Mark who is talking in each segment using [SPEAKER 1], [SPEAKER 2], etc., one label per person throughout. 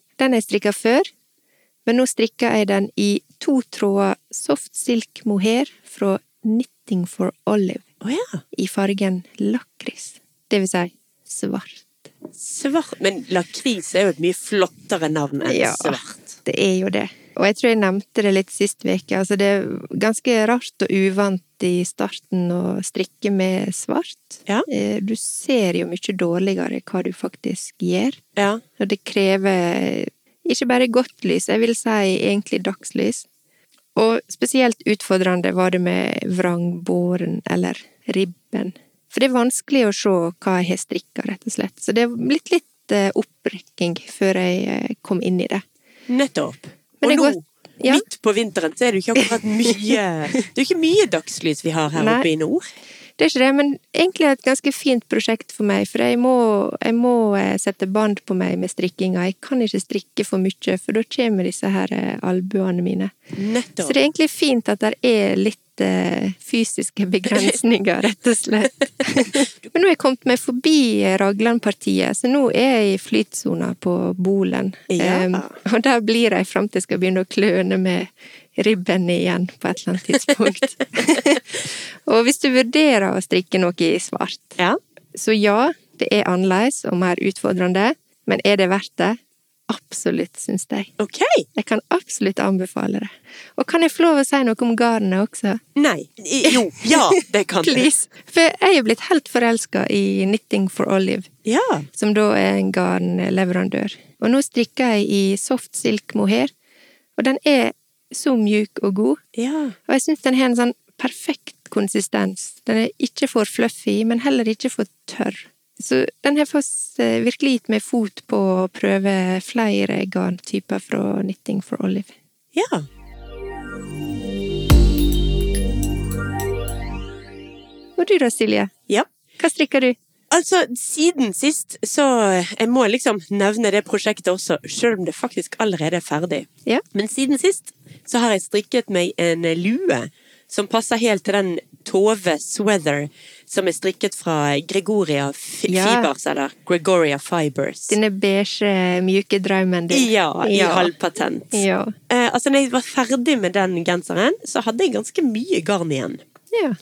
[SPEAKER 1] Den har jeg strikka før, men nå strikker jeg den i to tråder soft silk mohair fra Knitting for Olive
[SPEAKER 2] Å ja,
[SPEAKER 1] i fargen lakris. Det vil si svart.
[SPEAKER 2] svart. Men lakris er jo et mye flottere navn enn
[SPEAKER 1] Ja.
[SPEAKER 2] svart.
[SPEAKER 1] Det er jo det. Og jeg tror jeg nevnte det litt sist uke. Altså, det er ganske rart og uvant i starten å strikke med svart.
[SPEAKER 2] Ja.
[SPEAKER 1] Eh, Du ser jo mye dårligere hva du faktisk gjør.
[SPEAKER 2] Ja,
[SPEAKER 1] Og det krever ikke bare godt lys, jeg vil si egentlig dagslys. Og spesielt utfordrende var det med vrangbåren eller ribben. For det er vanskelig å se hva jeg har strikka, rett og slett. Så det er blitt litt eh, opprykking før jeg eh, kom inn i det.
[SPEAKER 2] nettopp.
[SPEAKER 1] Men
[SPEAKER 2] Og nå,
[SPEAKER 1] det går- Ja.
[SPEAKER 2] midt på vinteren, så er det jo ikke akkurat mye Det er jo ikke mye dagslys vi har her
[SPEAKER 1] Nei.
[SPEAKER 2] oppe i nord.
[SPEAKER 1] Det er ikke det, men egentlig et ganske fint prosjekt for meg, for jeg må, jeg må eh, sette bånd på meg med strikkinga. Jeg kan ikke strikke for mye, for da kommer disse her eh, albuene mine. Så
[SPEAKER 2] Nettopp.
[SPEAKER 1] det er egentlig fint at det er litt eh, fysiske begrensninger, rett og slett. Men nå har jeg kommet meg forbi eh, Ragland-partiet, så nå er jeg i flytsona på Bolen.
[SPEAKER 2] Ja.
[SPEAKER 1] Em, og der blir jeg fram til jeg skal begynne å kløne med ribben igjen på et eller annet tidspunkt. og hvis du vurderer å strikke noe i svart,
[SPEAKER 2] Ja.
[SPEAKER 1] så ja, det er annerledes og mer utfordrende, men er det verdt det? Absolutt, syns jeg.
[SPEAKER 2] Ok.
[SPEAKER 1] Jeg kan absolutt anbefale det. Og kan jeg få lov å si noe om garnet også?
[SPEAKER 2] Nei. I- Jo. Ja, det kan du.
[SPEAKER 1] Please! For jeg er blitt helt forelska i Knitting for Olive,
[SPEAKER 2] Ja.
[SPEAKER 1] som da er en garnleverandør. Og nå strikker jeg i soft silk mohair, og den er så mjuk og god.
[SPEAKER 2] Ja.
[SPEAKER 1] Og jeg syns den har en sånn perfekt konsistens. Den er ikke for fluffy, men heller ikke for tørr. Så den har fast, eh, virkelig gitt meg fot på å prøve flere garntyper fra Knitting for Olive.
[SPEAKER 2] Ja.
[SPEAKER 1] Og du da, Silje?
[SPEAKER 2] ja.
[SPEAKER 1] Hva strikker du?
[SPEAKER 2] Altså, siden sist, så Jeg må liksom nevne det prosjektet også, sjøl om det faktisk allerede er ferdig.
[SPEAKER 1] Ja.
[SPEAKER 2] Men siden sist så har jeg strikket meg en lue som passer helt til den Tove Sweather som er strikket fra Gregoria F
[SPEAKER 1] Ja.
[SPEAKER 2] Fibers, eller Gregoria Fibers.
[SPEAKER 1] Denne beige, mjuke drømmen din.
[SPEAKER 2] Ja, i
[SPEAKER 1] Ja.
[SPEAKER 2] halvpatent.
[SPEAKER 1] Ja.
[SPEAKER 2] Eh, altså, når jeg var ferdig med den genseren, så hadde jeg ganske mye garn igjen.
[SPEAKER 1] ja.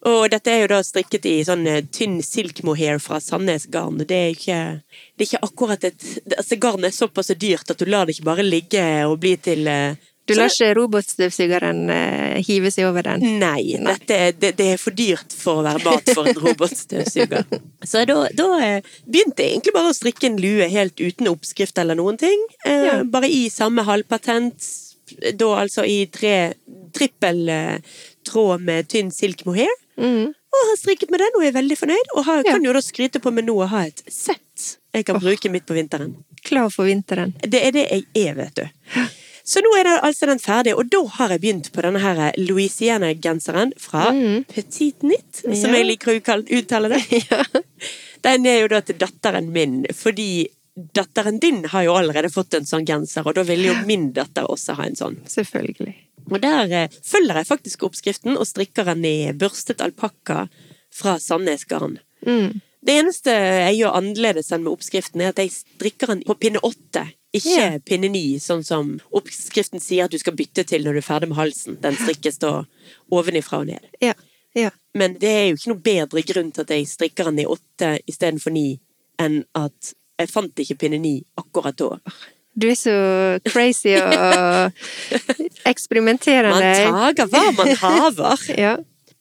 [SPEAKER 2] Og dette er jo da strikket i sånn eh, tynn silk mohair fra Sandnes garn. Det er ikke, det er ikke akkurat et det- altså Garnet er såpass dyrt at du lar det ikke bare ligge og bli til eh,
[SPEAKER 1] Du lar
[SPEAKER 2] så-
[SPEAKER 1] ikke robotstøvsugeren eh, hive seg over den?
[SPEAKER 2] Nei, Dette er, det, det er for dyrt for å være mat for en robotstøvsuger. Så da, da eh, begynte jeg egentlig bare å strikke en lue helt uten oppskrift eller noen ting. Eh,
[SPEAKER 1] Ja.
[SPEAKER 2] Bare i samme halvpatent, da altså i tre trippel eh, tråd med tynn silk mohair.
[SPEAKER 1] Mm.
[SPEAKER 2] Og har strikket med den og er veldig fornøyd. Og har,
[SPEAKER 1] Ja.
[SPEAKER 2] kan jo da skryte på meg nå å ha et sett jeg kan bruke midt på vinteren.
[SPEAKER 1] Klar for vinteren.
[SPEAKER 2] Det er det jeg er, vet du. Så nå er det altså den ferdig, og da har jeg begynt på denne her Louisiana-genseren fra Petit Knit, som
[SPEAKER 1] Ja.
[SPEAKER 2] jeg liker å utkall- uttale det. Den er jo da til datteren min, fordi datteren din har jo allerede fått en sånn genser, og da ville jo min datter også ha en sånn.
[SPEAKER 1] Selvfølgelig.
[SPEAKER 2] Og der eh, følger jeg faktisk oppskriften og strikker den i børstet alpakka fra Sandnes garn.
[SPEAKER 1] Mm.
[SPEAKER 2] Det eneste jeg gjør annerledes enn med oppskriften, er at jeg strikker den på pinne åtte. Ikke
[SPEAKER 1] Ja.
[SPEAKER 2] pinne ni, sånn som oppskriften sier at du skal bytte til når du er ferdig med halsen. Den strikkes da ovenifra og ned.
[SPEAKER 1] Ja. ja.
[SPEAKER 2] Men det er jo ikke noe bedre grunn til at jeg strikker den i åtte istedenfor ni, enn at jeg fant ikke pinne ni akkurat da.
[SPEAKER 1] Du er så crazy og
[SPEAKER 2] Man
[SPEAKER 1] eksperimenterende.
[SPEAKER 2] tager hva man haver.
[SPEAKER 1] Ja.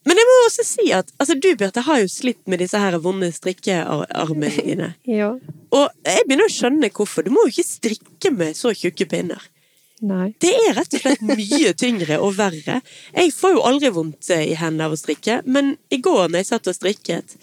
[SPEAKER 2] Men jeg må også si at altså, du, Bjarte, har jo slitt med disse her vonde strikkearmene dine.
[SPEAKER 1] ja.
[SPEAKER 2] Og jeg begynner å skjønne hvorfor. Du må jo ikke strikke med så tjukke pinner.
[SPEAKER 1] Nei.
[SPEAKER 2] Det er rett og slett mye tyngre og verre. Jeg får jo aldri vondt eh, i hendene av å strikke, men i går når jeg satt og strikket,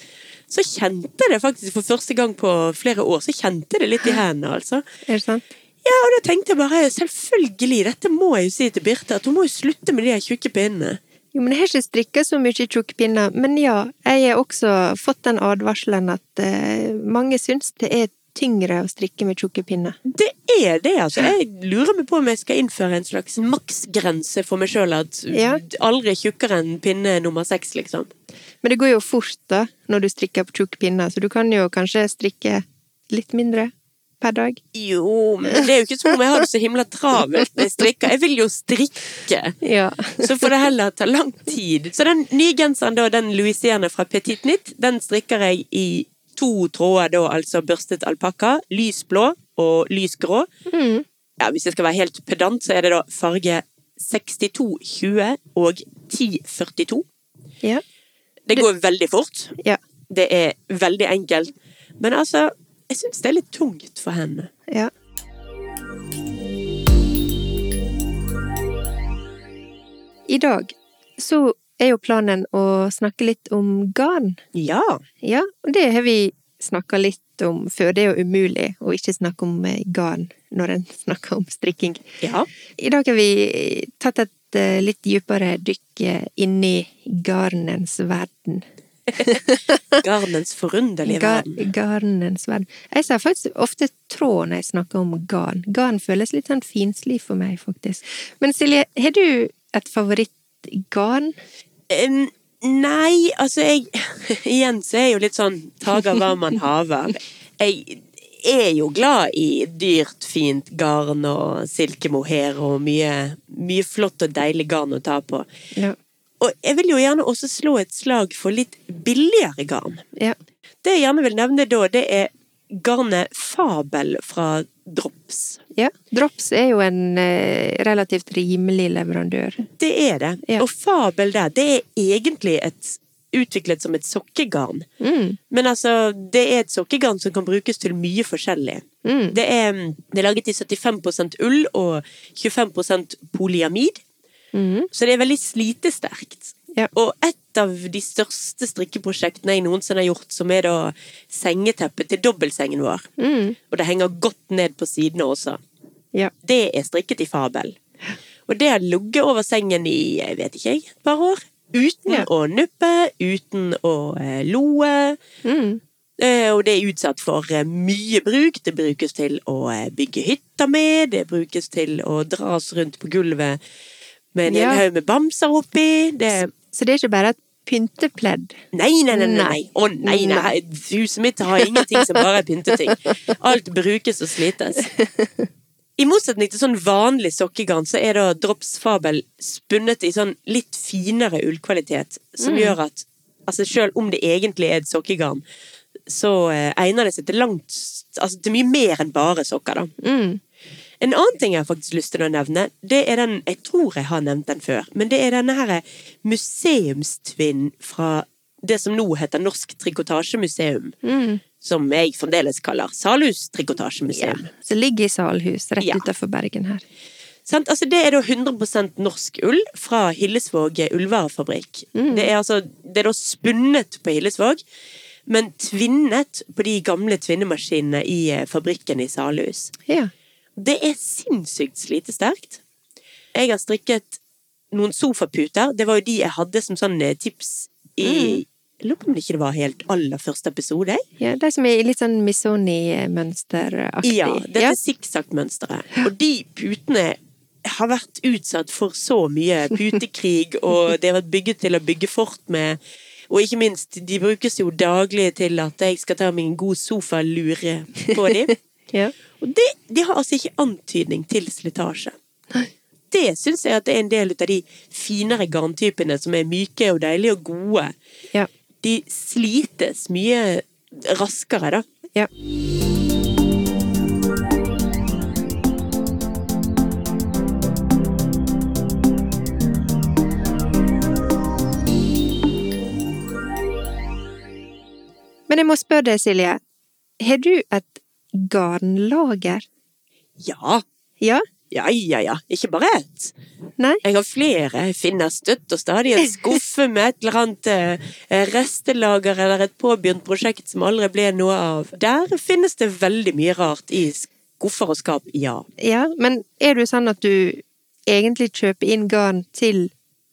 [SPEAKER 2] så kjente jeg det faktisk for første gang på flere år. Så kjente jeg det litt i hendene, altså.
[SPEAKER 1] Er det sant?
[SPEAKER 2] Ja, og da tenkte jeg bare selvfølgelig, dette må jeg jo si til Birte, at hun må jo slutte med de her tjukke pinnene.
[SPEAKER 1] Jo, men jeg har ikke strikka så mye tjukke pinner. Men ja, jeg har også fått den advarselen at eh, mange syns det er tyngre å strikke med tjukke pinner.
[SPEAKER 2] Det er det, altså. Jeg lurer meg på om jeg skal innføre en slags maksgrense for meg sjøl. At
[SPEAKER 1] Ja.
[SPEAKER 2] aldri tjukkere enn pinne nummer seks, liksom.
[SPEAKER 1] Men det går jo fort da, når du strikker på tjukk pinne, så du kan jo kanskje strikke litt mindre per dag.
[SPEAKER 2] Jo, men det er jo ikke som om jeg har det så himla travelt når jeg strikker. Jeg vil jo strikke.
[SPEAKER 1] Ja.
[SPEAKER 2] Så får det heller ta lang tid. Så den nye genseren, da, den Louisiana fra Petit Nytt, den strikker jeg i to tråder, da, altså børstet alpakka. Lysblå og lysgrå.
[SPEAKER 1] Mm.
[SPEAKER 2] Ja, hvis jeg skal være helt pedant, så er det da farge 6220 og 1042.
[SPEAKER 1] ja.
[SPEAKER 2] Det går veldig fort.
[SPEAKER 1] Ja.
[SPEAKER 2] Det er veldig enkelt. Men altså, jeg syns det er litt tungt for henne.
[SPEAKER 1] Ja. I dag så er jo planen å snakke litt om garn.
[SPEAKER 2] Ja.
[SPEAKER 1] Ja, og det har vi snakka litt om før. Det er jo umulig å ikke snakke om eh, garn når en snakker om strikking.
[SPEAKER 2] Ja.
[SPEAKER 1] I dag har vi tatt et eh, litt dypere dykk eh, inni garnens verden.
[SPEAKER 2] Garnens forunderlige
[SPEAKER 1] Ga-
[SPEAKER 2] verden.
[SPEAKER 1] Garnens verden. Jeg sier faktisk ofte tråd når jeg snakker om garn. Garn føles litt sånn finslig for meg, faktisk. Men Silje, har du et favorittgarn?
[SPEAKER 2] Em, nei, altså jeg Igjen så er jeg jo litt sånn tager hva man haver. Jeg er jo glad i dyrt, fint garn og silkemohair og mye, mye flott og deilig garn å ta på.
[SPEAKER 1] Ja.
[SPEAKER 2] Og jeg vil jo gjerne også slå et slag for litt billigere garn.
[SPEAKER 1] ja.
[SPEAKER 2] Det jeg gjerne vil nevne da, det er garnet Fabel fra Drops.
[SPEAKER 1] ja. Drops er jo en eh, relativt rimelig leverandør.
[SPEAKER 2] Det er det.
[SPEAKER 1] Ja.
[SPEAKER 2] Og Fabel der, det er egentlig et, utviklet som et sokkegarn.
[SPEAKER 1] Mm.
[SPEAKER 2] Men altså, det er et sokkegarn som kan brukes til mye forskjellig.
[SPEAKER 1] Mm.
[SPEAKER 2] Det er, det er laget i 75 ull og 25 polyamid,
[SPEAKER 1] Mm.
[SPEAKER 2] så det er veldig slitesterkt.
[SPEAKER 1] Ja.
[SPEAKER 2] Og et av de største strikkeprosjektene jeg noensinne har gjort, som er da sengeteppet til dobbeltsengen vår,
[SPEAKER 1] Mm.
[SPEAKER 2] og det henger godt ned på sidene også,
[SPEAKER 1] Ja.
[SPEAKER 2] det er strikket i fabel. Og det har ligget over sengen i, jeg vet ikke, jeg, et par år. Uten
[SPEAKER 1] Ja.
[SPEAKER 2] å nuppe, uten å eh, loe.
[SPEAKER 1] Mm.
[SPEAKER 2] Eh, Og det er utsatt for eh, mye bruk. Det brukes til å eh, bygge hytter med, det brukes til å dras rundt på gulvet med en hel
[SPEAKER 1] Ja.
[SPEAKER 2] haug med bamser oppi. Det
[SPEAKER 1] Så det er ikke bare et pyntepledd.
[SPEAKER 2] Nei, nei, nei! nei, nei.
[SPEAKER 1] Nei.
[SPEAKER 2] Å nei, nei! Huset mitt har ingenting som bare er pynteting. Alt brukes og slites. I motsetning til sånn vanlig sokkegarn, så er da Drops Fabel spunnet i sånn litt finere ullkvalitet, som gjør at altså selv om det egentlig er et sokkegarn, så eh, egner det seg til langt Altså til mye mer enn bare sokker, da.
[SPEAKER 1] Mm.
[SPEAKER 2] En annen ting jeg har faktisk lyst til å nevne, det er den Jeg tror jeg har nevnt den før, men det er denne her museumstvinn fra det som nå heter Norsk Trikotasjemuseum.
[SPEAKER 1] Mm.
[SPEAKER 2] Som jeg fremdeles kaller Salhus Trikotasjemuseum.
[SPEAKER 1] Som ligger i Salhus, rett
[SPEAKER 2] Ja.
[SPEAKER 1] utenfor Bergen her.
[SPEAKER 2] Sant? Altså, det er da 100 norsk ull fra Hillesvåg ullvarefabrikk. Det, er altså, det er da spunnet på Hillesvåg, men tvinnet på de gamle tvinnemaskinene i eh, fabrikken i Salhus.
[SPEAKER 1] Ja.
[SPEAKER 2] Det er sinnssykt slitesterkt. Jeg har strikket noen sofaputer. Det var jo de jeg hadde som sånn eh, tips i Jeg lurer på om det ikke var helt aller første episode. jeg.
[SPEAKER 1] ja. De som er i litt sånn Missoni-mønsteraktig.
[SPEAKER 2] Ja, dette sikksakk-mønsteret. Og de putene har vært utsatt for så mye putekrig, og de har vært bygget til å bygge fort med. Og ikke minst, de brukes jo daglig til at jeg skal ta meg en god sofalure på dem.
[SPEAKER 1] ja.
[SPEAKER 2] Og det, de har altså ikke antydning til slitasje. Det syns jeg at det er en del ut av de finere garntypene som er myke og deilige og gode.
[SPEAKER 1] Ja.
[SPEAKER 2] De slites mye raskere, da.
[SPEAKER 1] Ja. Men jeg må spørre deg, Silje. Har du et garnlager?
[SPEAKER 2] Ja,
[SPEAKER 1] Ja?
[SPEAKER 2] ja, ja. ja. Ikke bare ett.
[SPEAKER 1] Nei?
[SPEAKER 2] Jeg har flere. Jeg finner støtt og stadig en skuffe med et eller annet eh, restelager eller et påbegynt prosjekt som aldri ble noe av. Der finnes det veldig mye rart i skuffer og skap, ja.
[SPEAKER 1] Ja, men er du sånn at du egentlig kjøper inn garn til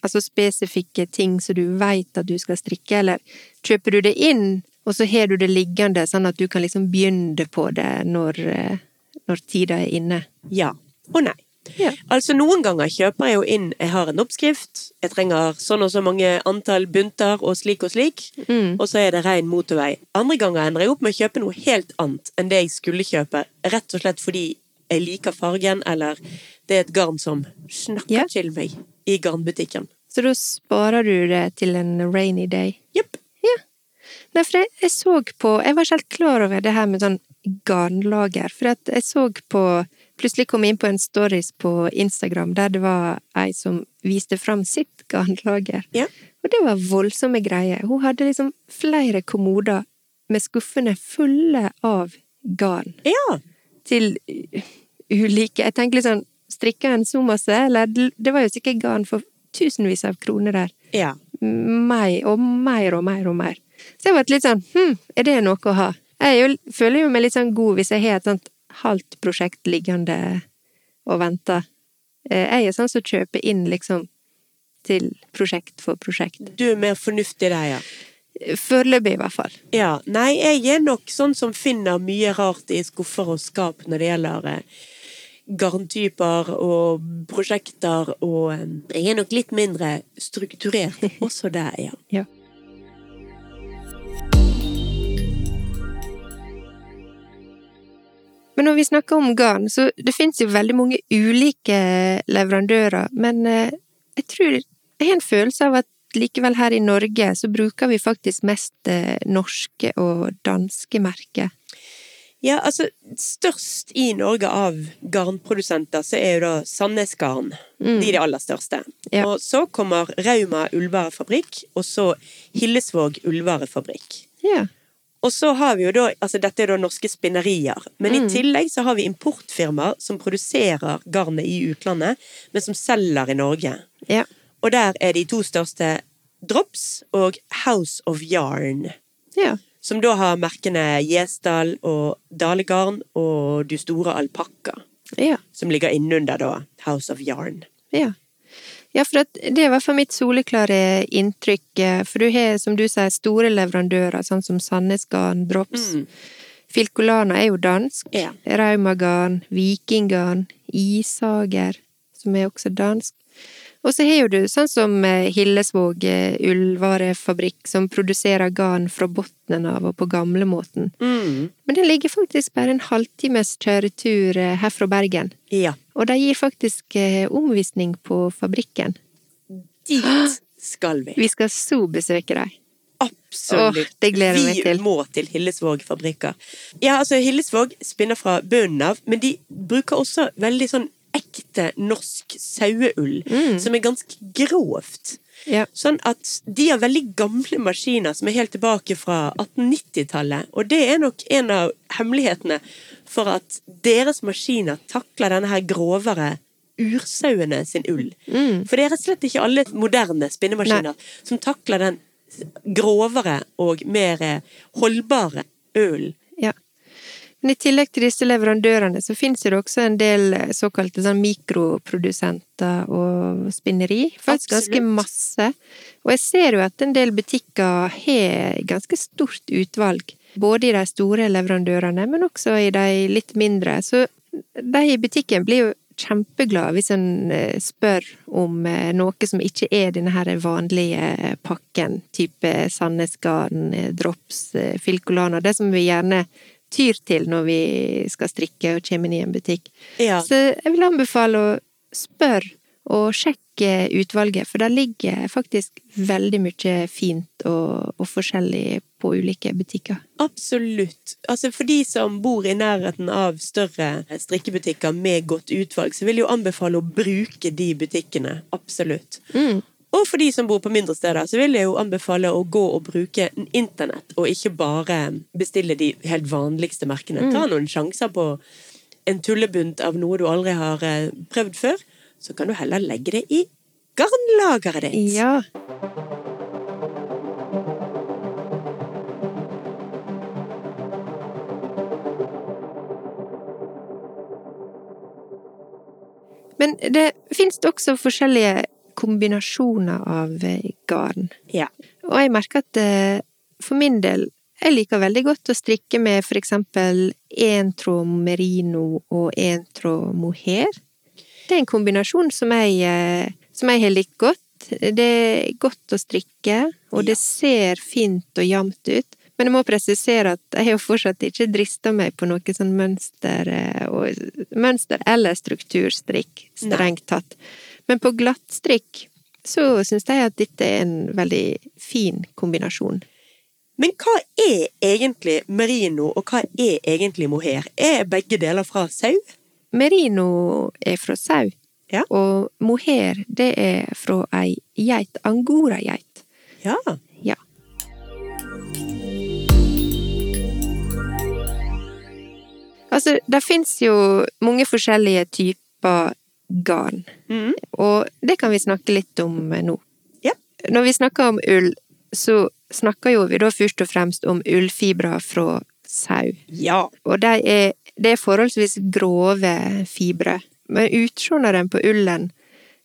[SPEAKER 1] altså spesifikke ting som du veit at du skal strikke, eller kjøper du det inn, og så har du det liggende, sånn at du kan liksom begynne på det når, eh, når tida er inne?
[SPEAKER 2] Ja og nei.
[SPEAKER 1] Ja.
[SPEAKER 2] Altså Noen ganger kjøper jeg jo inn Jeg har en oppskrift. Jeg trenger sånn og så mange antall bunter og slik og slik.
[SPEAKER 1] Mm.
[SPEAKER 2] Og så er det rein motorvei. Andre ganger ender jeg opp med å kjøpe noe helt annet enn det jeg skulle kjøpe. Rett og slett fordi jeg liker fargen, eller det er et garn som snakker
[SPEAKER 1] Ja.
[SPEAKER 2] til meg i garnbutikken.
[SPEAKER 1] Så da sparer du det til en rainy day?
[SPEAKER 2] Jepp.
[SPEAKER 1] Nei, for jeg, jeg så på Jeg var ikke helt klar over det her med sånn garnlager. For at jeg så på Plutselig kom jeg inn på en stories på Instagram der det var ei som viste fram sitt garnlager.
[SPEAKER 2] Ja.
[SPEAKER 1] Og det var voldsomme greier. Hun hadde liksom flere kommoder med skuffene fulle av garn
[SPEAKER 2] Ja.
[SPEAKER 1] til u- ulike Jeg tenker litt sånn Strikker en så masse? Eller det var jo sikkert garn for tusenvis av kroner der
[SPEAKER 2] ja.
[SPEAKER 1] meg og mer og mer og mer. Så jeg har vært litt sånn hm, er det noe å ha? Jeg er jo, føler jo meg litt sånn god hvis jeg har et sånt halvt prosjekt liggende og venter. Eh, Jeg er sånn som kjøper inn liksom til prosjekt for prosjekt.
[SPEAKER 2] Du er mer fornuftig der, ja.
[SPEAKER 1] Foreløpig, i hvert fall.
[SPEAKER 2] Ja, nei, jeg er nok sånn som finner mye rart i skuffer og skap når det gjelder eh, garntyper og prosjekter, og eh, jeg er nok litt mindre strukturert også der, ja.
[SPEAKER 1] Ja. Men når vi snakker om garn, så det finnes jo veldig mange ulike leverandører, men eh, jeg tror jeg har en følelse av at likevel her i Norge så bruker vi faktisk mest eh, norske og danske merker.
[SPEAKER 2] Ja, altså, størst i Norge av garnprodusenter, så er jo da Sandnes Garn.
[SPEAKER 1] Mm.
[SPEAKER 2] De er de aller største.
[SPEAKER 1] Ja.
[SPEAKER 2] Og så kommer Rauma ullvarefabrikk, og så Hillesvåg ullvarefabrikk.
[SPEAKER 1] Ja.
[SPEAKER 2] Og så har vi jo da, altså dette er da norske spinnerier, men i tillegg så har vi importfirmaer som produserer garnet i utlandet, men som selger i Norge.
[SPEAKER 1] ja.
[SPEAKER 2] Og der er de to største Drops og House of Yarn,
[SPEAKER 1] Ja.
[SPEAKER 2] som da har merkene Gjesdal og Dalegarn og Du store alpakka,
[SPEAKER 1] Ja.
[SPEAKER 2] som ligger innunder da House of Yarn.
[SPEAKER 1] Ja. Ja, for at det er i hvert fall mitt soleklare inntrykk. eh, For du har, som du sier, store leverandører, sånn som Sandnes Garn, Drops. Filcolana er jo dansk.
[SPEAKER 2] Ja.
[SPEAKER 1] Raumagarn, Vikingarn, Isager, som er også dansk. Og så har jo du sånn som eh, Hillesvåg eh, ullvarefabrikk, som produserer garn fra bunnen av og på gamlemåten.
[SPEAKER 2] Mm.
[SPEAKER 1] Men den ligger faktisk bare en halvtimes kjøretur eh, her fra Bergen.
[SPEAKER 2] Ja.
[SPEAKER 1] Og de gir faktisk eh, omvisning på fabrikken.
[SPEAKER 2] Dit skal vi.
[SPEAKER 1] Vi skal så besøke deg.
[SPEAKER 2] Absolutt.
[SPEAKER 1] Åh, det gleder jeg meg til.
[SPEAKER 2] Vi må til Hillesvåg fabrikker. Ja, altså Hillesvåg spinner fra bunnen av, men de bruker også veldig sånn ekte norsk saueull,
[SPEAKER 1] Mm.
[SPEAKER 2] som er ganske grovt.
[SPEAKER 1] Ja.
[SPEAKER 2] Sånn at de har veldig gamle maskiner som er helt tilbake fra 1890-tallet, og det er nok en av hemmelighetene for at deres maskiner takler denne her grovere ursauene sin ull. For det er rett og slett ikke alle moderne spinnemaskiner som takler den grovere og mer eh, holdbare ull.
[SPEAKER 1] Ja. Men i tillegg til disse leverandørene, så finnes det også en del eh, såkalte sånn mikroprodusenter og spinneri. Faktisk ganske
[SPEAKER 2] Absolutt.
[SPEAKER 1] masse. Og jeg ser jo at en del butikker har ganske stort utvalg. Både i de store leverandørene, men også i de litt mindre. Så de i butikken blir jo kjempeglade hvis en eh, spør om eh, noe som ikke er denne her vanlige eh, pakken. Type Sandnes Garn, eh, Drops, eh, Filcolana. Det som vi gjerne tyr til når vi skal strikke og kommer inn i en butikk.
[SPEAKER 2] Ja.
[SPEAKER 1] Så jeg vil anbefale å spørre og sjekke utvalget, for der ligger faktisk veldig mye fint og, og forskjellig på ulike butikker.
[SPEAKER 2] Absolutt. Altså For de som bor i nærheten av større strikkebutikker med godt utvalg, så vil jeg jo anbefale å bruke de butikkene. Absolutt. Og for de som bor på mindre steder, så vil jeg jo anbefale å gå og bruke internett, og ikke bare bestille de helt vanligste merkene. Ta noen sjanser på en tullebunt av noe du aldri har eh, prøvd før. Så kan du heller legge det i garnlageret ditt.
[SPEAKER 1] Ja. Men det fins også forskjellige kombinasjoner av eh, garn.
[SPEAKER 2] Ja.
[SPEAKER 1] Og jeg merker at eh, for min del jeg liker veldig godt å strikke med for eksempel én tråd merino og én tråd mohair. Det er en kombinasjon som jeg, eh, som jeg har likt godt. Det er godt å strikke, og det ser fint og jevnt ut. Men jeg må presisere at jeg har jo fortsatt ikke drista meg på noe sånn mønster, eh, og, mønster eller strukturstrikk, strengt tatt. Men på glattstrikk så syns jeg at dette er en veldig fin kombinasjon.
[SPEAKER 2] Men hva er egentlig merino, og hva er egentlig mohair? Er begge deler fra sau?
[SPEAKER 1] Merino er fra sau,
[SPEAKER 2] Ja.
[SPEAKER 1] og mohair det er fra ei geit, angorageit.
[SPEAKER 2] Ja.
[SPEAKER 1] Ja. Altså, det fins jo mange forskjellige typer garn,
[SPEAKER 2] Mhm.
[SPEAKER 1] og det kan vi snakke litt om nå.
[SPEAKER 2] Ja.
[SPEAKER 1] Når vi snakker om ull, så snakker jo vi da først og fremst om ullfibrer fra sau.
[SPEAKER 2] Ja.
[SPEAKER 1] Og de er, det er forholdsvis grove fibre. Men utseendet på ullen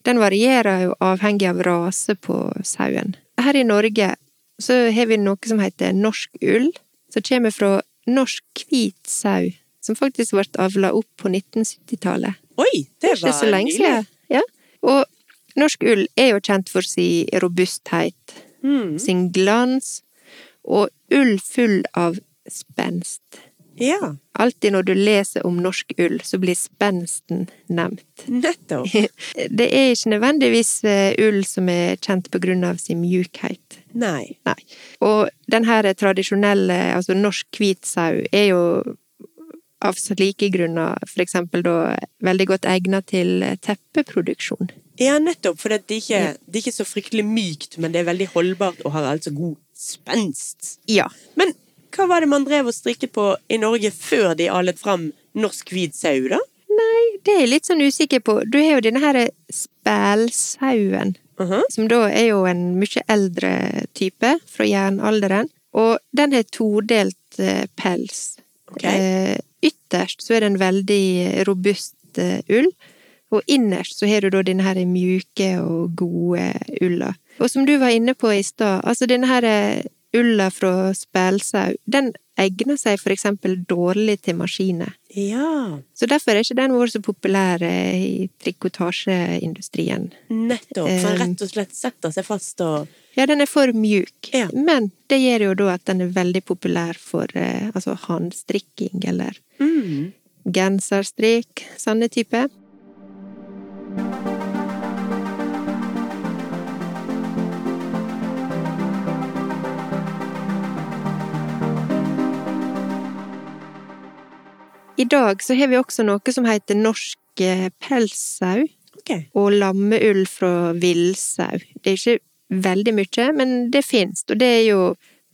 [SPEAKER 1] den varierer jo avhengig av rase på sauen. Her i Norge så har vi noe som heter norsk ull, som kommer fra norsk hvit sau, som faktisk ble avla opp på 1970-tallet.
[SPEAKER 2] Oi, det,
[SPEAKER 1] Det er
[SPEAKER 2] var
[SPEAKER 1] ikke så lenge
[SPEAKER 2] nylig.
[SPEAKER 1] siden. Ja. Og norsk ull er jo kjent for sin robusthet,
[SPEAKER 2] Mhm.
[SPEAKER 1] sin glans, og ull full av spenst.
[SPEAKER 2] Ja,
[SPEAKER 1] Alltid når du leser om norsk ull, så blir spensten nevnt.
[SPEAKER 2] nettopp.
[SPEAKER 1] Det er ikke nødvendigvis eh, ull som er kjent på grunn av sin mjukhet.
[SPEAKER 2] Nei.
[SPEAKER 1] Nei. Og den her tradisjonelle, altså norsk hvit sau, er jo av slike grunner for eksempel da veldig godt egnet til eh, teppeproduksjon.
[SPEAKER 2] Ja, nettopp, for det er, ikke, det er ikke så fryktelig mykt, men det er veldig holdbart og har altså god spenst.
[SPEAKER 1] Ja.
[SPEAKER 2] Men hva var det man drev og strikket på i Norge før de alet fram norsk hvit sau, da?
[SPEAKER 1] Det er jeg litt sånn usikker på. Du har jo denne her spælsauen.
[SPEAKER 2] Mhm.
[SPEAKER 1] som da er jo en mye eldre type fra jernalderen. Og den har todelt eh, pels.
[SPEAKER 2] Ok.
[SPEAKER 1] Eh, ytterst så er det en veldig robust eh, ull, og innerst så har du da denne her mjuke og gode ulla. Og som du var inne på i stad, altså denne her eh, ulla fra spelsau, den egner seg for eksempel dårlig til maskiner.
[SPEAKER 2] Ja,
[SPEAKER 1] Så derfor er ikke den vår så populær eh, i trikotasjeindustrien.
[SPEAKER 2] nettopp. For den
[SPEAKER 1] Eh.
[SPEAKER 2] rett og slett setter seg fast og
[SPEAKER 1] Ja, den er for mjuk.
[SPEAKER 2] Ja.
[SPEAKER 1] Men det gjør jo da at den er veldig populær for eh, altså håndstrikking eller
[SPEAKER 2] mm.
[SPEAKER 1] genserstrikk, sånne type. I dag så har vi også noe som heter norsk eh, pelssau
[SPEAKER 2] Ok.
[SPEAKER 1] og lammeull fra villsau. Det er ikke veldig mye, men det fins, og det er jo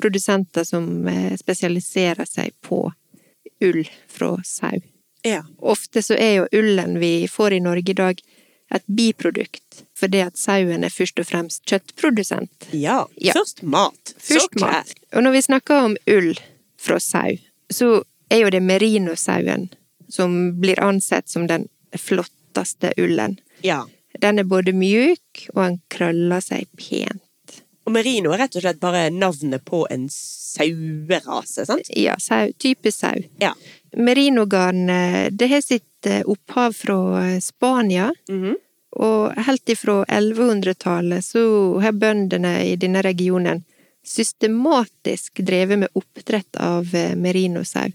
[SPEAKER 1] produsenter som eh, spesialiserer seg på ull fra sau.
[SPEAKER 2] Ja.
[SPEAKER 1] Ofte så er jo ullen vi får i Norge i dag, et biprodukt, fordi at sauen er først og fremst kjøttprodusent.
[SPEAKER 2] Ja.
[SPEAKER 1] Ja.
[SPEAKER 2] Først mat, så
[SPEAKER 1] Først
[SPEAKER 2] klær.
[SPEAKER 1] mat. Og når vi snakker om ull fra sau, så er jo det merinosauen som blir ansett som den flotteste ullen.
[SPEAKER 2] Ja.
[SPEAKER 1] Den er både mjuk, og han krøller seg pent.
[SPEAKER 2] Og merino er rett og slett bare navnet på en sauerase, sant?
[SPEAKER 1] Ja, sau, type sau.
[SPEAKER 2] Ja.
[SPEAKER 1] Merinogarn eh, det har sitt eh, opphav fra eh, Spania,
[SPEAKER 2] Mhm.
[SPEAKER 1] og helt ifra 1100-tallet så har bøndene i denne regionen systematisk drevet med oppdrett av eh, merinosau,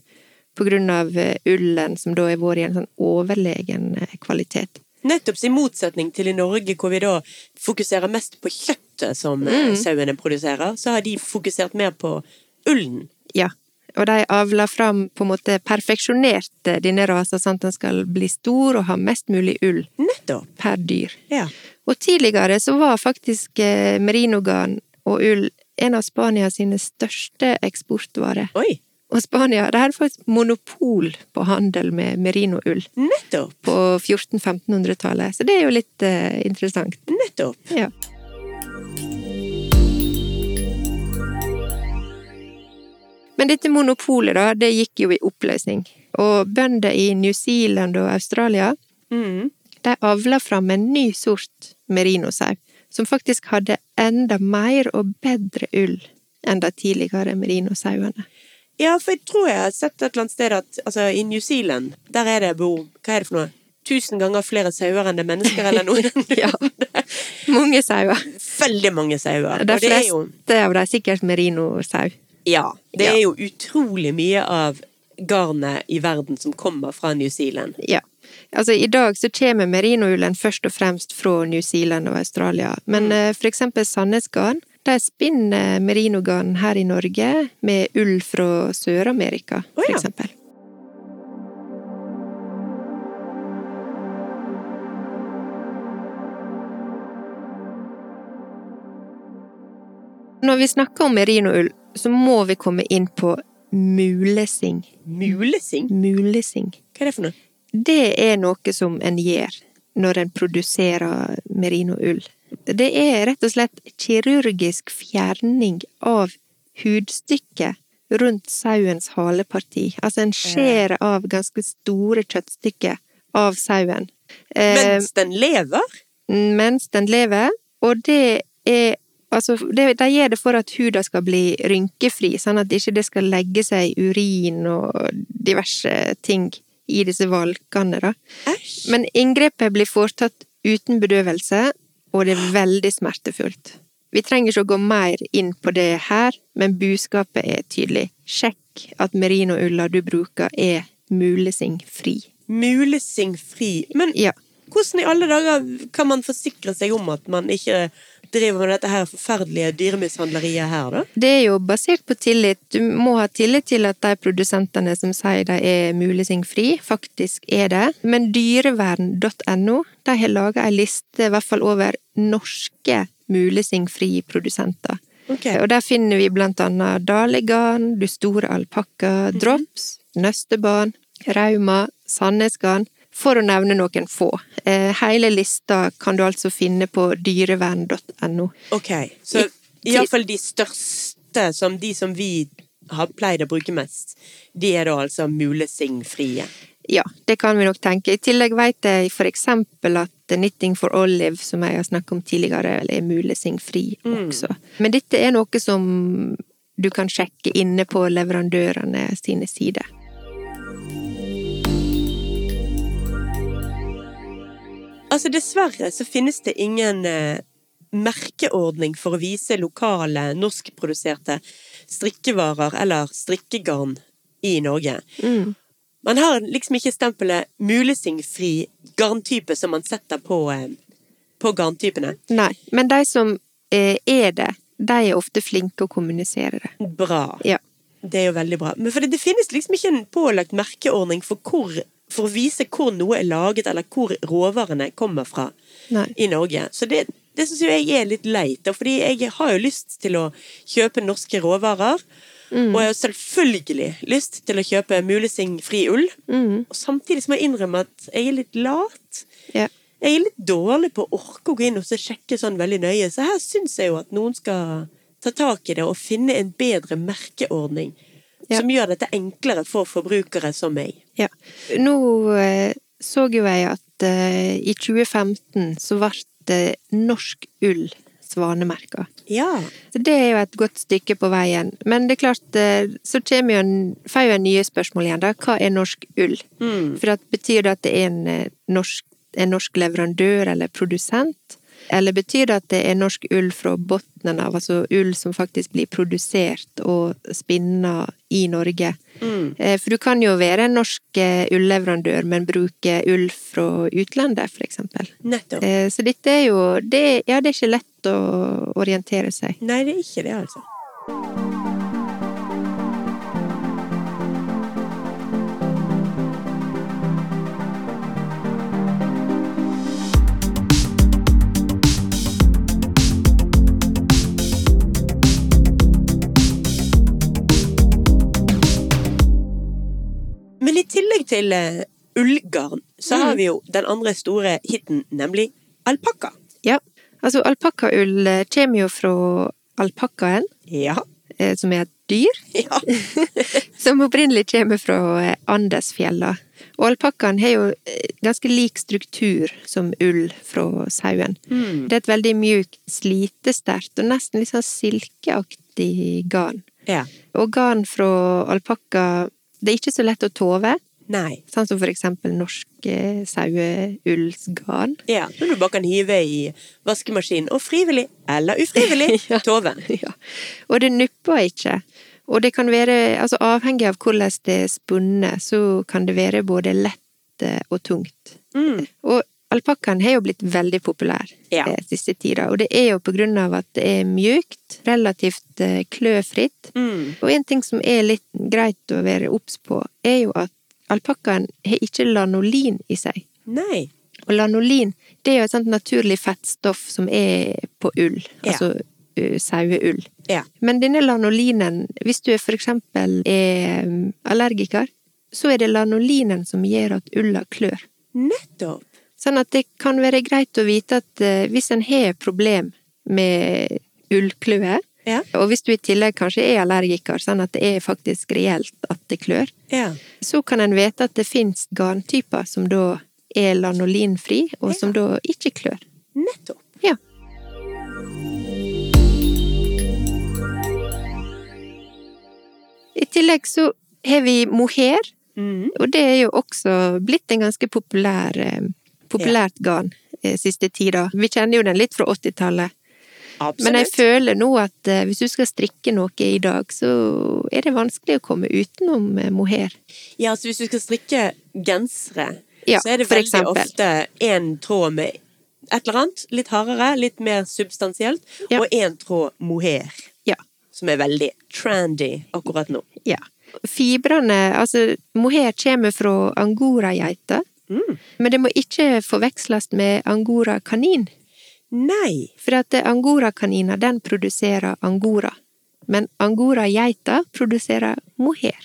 [SPEAKER 1] på grunn av eh, ullen som da har vært i en sånn overlegen eh, kvalitet.
[SPEAKER 2] Nettopp i motsetning til i Norge, hvor vi da fokuserer mest på kjøttet som
[SPEAKER 1] Mhm.
[SPEAKER 2] eh, sauene produserer, så har de fokusert mer på ullen.
[SPEAKER 1] Ja. Og de avler fram, på en måte perfeksjonert eh, denne rasen, sånn at den skal bli stor og ha mest mulig ull
[SPEAKER 2] Nettopp.
[SPEAKER 1] per dyr.
[SPEAKER 2] Ja.
[SPEAKER 1] Og tidligere så var faktisk eh, merinogarn og ull en av Spania sine største eksportvarer.
[SPEAKER 2] Oi.
[SPEAKER 1] Og Spania de hadde faktisk monopol på handel med merinoull
[SPEAKER 2] Nettopp.
[SPEAKER 1] på 1400-1500-tallet, så det er jo litt eh, interessant.
[SPEAKER 2] Nettopp.
[SPEAKER 1] Ja. Men dette monopolet, da, det gikk jo i oppløsning. Og bønder i New Zealand og Australia
[SPEAKER 2] Mhm.
[SPEAKER 1] de de avla fram en ny sort merinosau, som faktisk hadde enda mer og bedre ull enn de tidligere merinosauene.
[SPEAKER 2] Ja, for jeg tror jeg har sett et eller annet sted at altså, i New Zealand, der er det bor Hva er det for noe? Tusen ganger flere sauer enn det er mennesker eller noe.
[SPEAKER 1] Ja. Mange sauer.
[SPEAKER 2] Veldig mange sauer.
[SPEAKER 1] De
[SPEAKER 2] Og det er jo
[SPEAKER 1] fleste av de er sikkert merinosau.
[SPEAKER 2] Ja. Det
[SPEAKER 1] Ja.
[SPEAKER 2] er jo utrolig mye av garnet i verden som kommer fra New Zealand.
[SPEAKER 1] Ja. Altså, I dag så kommer merinoulen først og fremst fra New Zealand og Australia,
[SPEAKER 2] Mm.
[SPEAKER 1] men eh, for eksempel Sandnesgarn de spinner merinogarn her i Norge med ull fra Sør-Amerika,
[SPEAKER 2] Å
[SPEAKER 1] for
[SPEAKER 2] ja.
[SPEAKER 1] eksempel. Når vi snakker om merinoull, så må vi komme inn på mulesing.
[SPEAKER 2] Mulesing?
[SPEAKER 1] Mulesing.
[SPEAKER 2] Hva er det for noe?
[SPEAKER 1] Det er noe som en gjør når en produserer merinoull. Det er rett og slett kirurgisk fjerning av hudstykket rundt sauens haleparti. Altså en skjærer av ganske store kjøttstykker av sauen. Eh,
[SPEAKER 2] Mens den lever?
[SPEAKER 1] mens den lever, og det er Altså, det, de gjør det for at huden skal bli rynkefri, sånn at ikke det skal legge seg urin og diverse ting i disse valkene, da.
[SPEAKER 2] Æsj.
[SPEAKER 1] Men inngrepet blir foretatt uten bedøvelse, og det er veldig smertefullt. Vi trenger ikke å gå mer inn på det her, men budskapet er tydelig. Sjekk at merinoulla du bruker, er mulesingfri.
[SPEAKER 2] Mulesingfri. Men
[SPEAKER 1] Ja.
[SPEAKER 2] hvordan i alle dager kan man forsikre seg om at man ikke driver med dette her forferdelige dyremishandleriet her, da?
[SPEAKER 1] Det er jo basert på tillit. Du må ha tillit til at de produsentene som sier de er mulesingfri, faktisk er det. Men dyrevern.no de har laga ei liste, i hvert fall over norske mulesingfrie produsenter.
[SPEAKER 2] Ok.
[SPEAKER 1] Og der finner vi blant annet Dalegarn, Du store alpakka, Drops, Nøstebarn, Rauma, Sandnesgarn, for å nevne noen få. Eh, Hele lista kan du altså finne på dyrevern.no.
[SPEAKER 2] Ok, så
[SPEAKER 1] I-
[SPEAKER 2] iallfall de største, som de som vi har pleid å bruke mest, de er da altså mulesingfrie.
[SPEAKER 1] Ja, det kan vi nok tenke. I tillegg vet jeg for eksempel at Knitting for Olive, som jeg har snakket om tidligere, er mulesingfri også. Men dette er noe som du kan sjekke inne på leverandørene sine sider.
[SPEAKER 2] Altså dessverre så finnes det ingen eh, merkeordning for å vise lokale norskproduserte strikkevarer eller strikkegarn i Norge. Man har liksom ikke stempelet mulesingfri garntype som man setter på, eh, på garntypene.
[SPEAKER 1] Nei, men de som eh, er det, de er ofte flinke å kommunisere det.
[SPEAKER 2] Bra.
[SPEAKER 1] Ja.
[SPEAKER 2] Det er jo veldig bra. Men for det, det finnes liksom ikke en pålagt merkeordning for, hvor, for å vise hvor noe er laget, eller hvor råvarene kommer fra
[SPEAKER 1] Nei.
[SPEAKER 2] i Norge. Så det, det syns jo jeg er litt leit. da, Fordi jeg har jo lyst til å kjøpe norske råvarer. Og jeg har selvfølgelig lyst til å kjøpe mulesingfri ull. Og samtidig så må jeg innrømme at jeg er litt lat.
[SPEAKER 1] Ja.
[SPEAKER 2] Jeg er litt dårlig på å orke å gå inn og så sjekke sånn veldig nøye, så her syns jeg jo at noen skal ta tak i det og finne en bedre merkeordning
[SPEAKER 1] Ja.
[SPEAKER 2] som gjør dette enklere for forbrukere som meg.
[SPEAKER 1] ja. Nå eh, så jo jeg at eh, i 2015 så ble det norsk ull svanemerka.
[SPEAKER 2] Ja.
[SPEAKER 1] Så det er jo et godt stykke på veien. Men det er klart, eh, så kommer jo en, får jeg jo en nye spørsmål igjen, da. Hva er norsk ull? For at, betyr det at det er en eh, norsk, en norsk leverandør eller produsent? Eller betyr det at det er norsk ull fra bunnen av, altså ull som faktisk blir produsert og spinna i Norge?
[SPEAKER 2] mm,
[SPEAKER 1] Eh, For du kan jo være en norsk eh, ullleverandør, men bruke ull fra utlandet, for eksempel.
[SPEAKER 2] Nettopp.
[SPEAKER 1] Eh, Så dette er jo det, Ja, det er ikke lett å orientere seg.
[SPEAKER 2] Nei, det er ikke det, altså. Men i tillegg til eh, ullgarn, så har vi jo den andre store hiten, nemlig alpakka.
[SPEAKER 1] Ja. Altså, alpakkaull eh, kommer jo fra alpakkaen,
[SPEAKER 2] Ja.
[SPEAKER 1] eh, som er et dyr.
[SPEAKER 2] ja.
[SPEAKER 1] Som opprinnelig kommer fra eh, Andesfjella. Og alpakkaen har jo eh, ganske lik struktur som ull fra sauen. Det er et veldig mjukt, slitesterkt og nesten litt sånn silkeaktig garn.
[SPEAKER 2] Ja.
[SPEAKER 1] Og garn fra alpakka Det er ikke så lett å tove,
[SPEAKER 2] Nei.
[SPEAKER 1] sånn som for eksempel norsk eh, saueullsgarn.
[SPEAKER 2] Ja, Når du bare kan hive i vaskemaskinen, og frivillig eller ufrivillig
[SPEAKER 1] Ja.
[SPEAKER 2] tove.
[SPEAKER 1] Ja. Og det nupper ikke. Og det kan være, altså avhengig av hvordan det er spunnet, så kan det være både lett eh, og tungt.
[SPEAKER 2] Mm.
[SPEAKER 1] Og alpakkaen har jo blitt veldig populær
[SPEAKER 2] Ja.
[SPEAKER 1] eh, siste tida, og det er jo på grunn av at det er mjukt, relativt eh, kløfritt.
[SPEAKER 2] Mm.
[SPEAKER 1] Og en ting som er litt greit å være obs på, er jo at alpakkaen har ikke lanolin i seg.
[SPEAKER 2] Nei.
[SPEAKER 1] Og lanolin det er jo et sånt naturlig fettstoff som er på ull,
[SPEAKER 2] Ja.
[SPEAKER 1] altså ø, saueull.
[SPEAKER 2] Ja.
[SPEAKER 1] Men denne lanolinen, hvis du er for eksempel er mm, allergiker, så er det lanolinen som gjør at ulla klør.
[SPEAKER 2] Nettopp.
[SPEAKER 1] Sånn at det kan være greit å vite at eh, hvis en har et problem med ullkløe,
[SPEAKER 2] Ja.
[SPEAKER 1] og hvis du i tillegg kanskje er allergiker, sånn at det er faktisk reelt at det klør,
[SPEAKER 2] Ja.
[SPEAKER 1] så kan en vite at det finnes garntyper som da er lanolinfri, og som da ikke klør.
[SPEAKER 2] Nettopp.
[SPEAKER 1] Ja. I tillegg så har vi mohair,
[SPEAKER 2] Mm.
[SPEAKER 1] og det er jo også blitt en ganske populær, eh, populært garn eh, siste tida. Vi kjenner jo den litt fra 80-tallet.
[SPEAKER 2] Absolutt.
[SPEAKER 1] Men jeg føler nå at eh, hvis du skal strikke noe i dag, så er det vanskelig å komme utenom eh, mohair.
[SPEAKER 2] Ja, altså hvis du skal strikke gensere,
[SPEAKER 1] Ja,
[SPEAKER 2] så er det
[SPEAKER 1] for
[SPEAKER 2] veldig
[SPEAKER 1] eksempel.
[SPEAKER 2] ofte én tråd med et eller annet. Litt hardere, litt mer substansielt.
[SPEAKER 1] Ja.
[SPEAKER 2] Og én tråd mohair,
[SPEAKER 1] Ja.
[SPEAKER 2] som er veldig trendy akkurat nå.
[SPEAKER 1] Ja. Fibrene, altså mohair kommer fra angorageiter,
[SPEAKER 2] Mm.
[SPEAKER 1] men det må ikke forveksles med angorakanin.
[SPEAKER 2] Nei.
[SPEAKER 1] For at eh, angorakaniner, den produserer angora. Men angorageiter produserer mohair.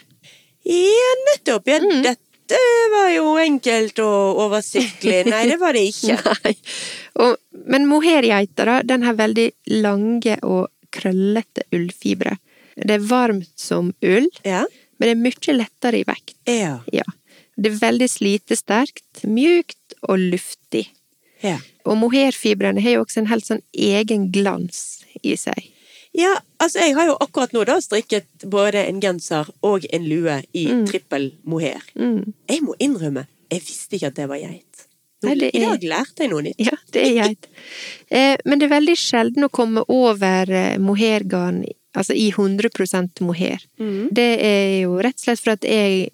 [SPEAKER 2] Ja, nettopp. Ja,
[SPEAKER 1] Mm.
[SPEAKER 2] dette var jo enkelt og oversiktlig. Nei, det var det ikke.
[SPEAKER 1] Nei. Og, men mohairgeita, da, den har veldig lange og krøllete ullfibre. Det er varmt som ull,
[SPEAKER 2] Ja.
[SPEAKER 1] men det er mye lettere i vekt.
[SPEAKER 2] Ja.
[SPEAKER 1] Ja. Det er veldig slitesterkt, mjukt og luftig.
[SPEAKER 2] Ja.
[SPEAKER 1] Og mohairfibrene har jo også en helt sånn egen glans i seg.
[SPEAKER 2] Ja, altså jeg har jo akkurat nå da strikket både en genser og en lue i trippel mohair.
[SPEAKER 1] Mm.
[SPEAKER 2] Jeg må innrømme, jeg visste ikke at det var geit. Nå,
[SPEAKER 1] Nei, det
[SPEAKER 2] I
[SPEAKER 1] er-
[SPEAKER 2] dag lærte jeg noe nytt.
[SPEAKER 1] Ja, det er geit. Eh, men det er veldig sjelden å komme over eh, mohairgarn, altså i 100 mohair. Det er jo rett og slett for at jeg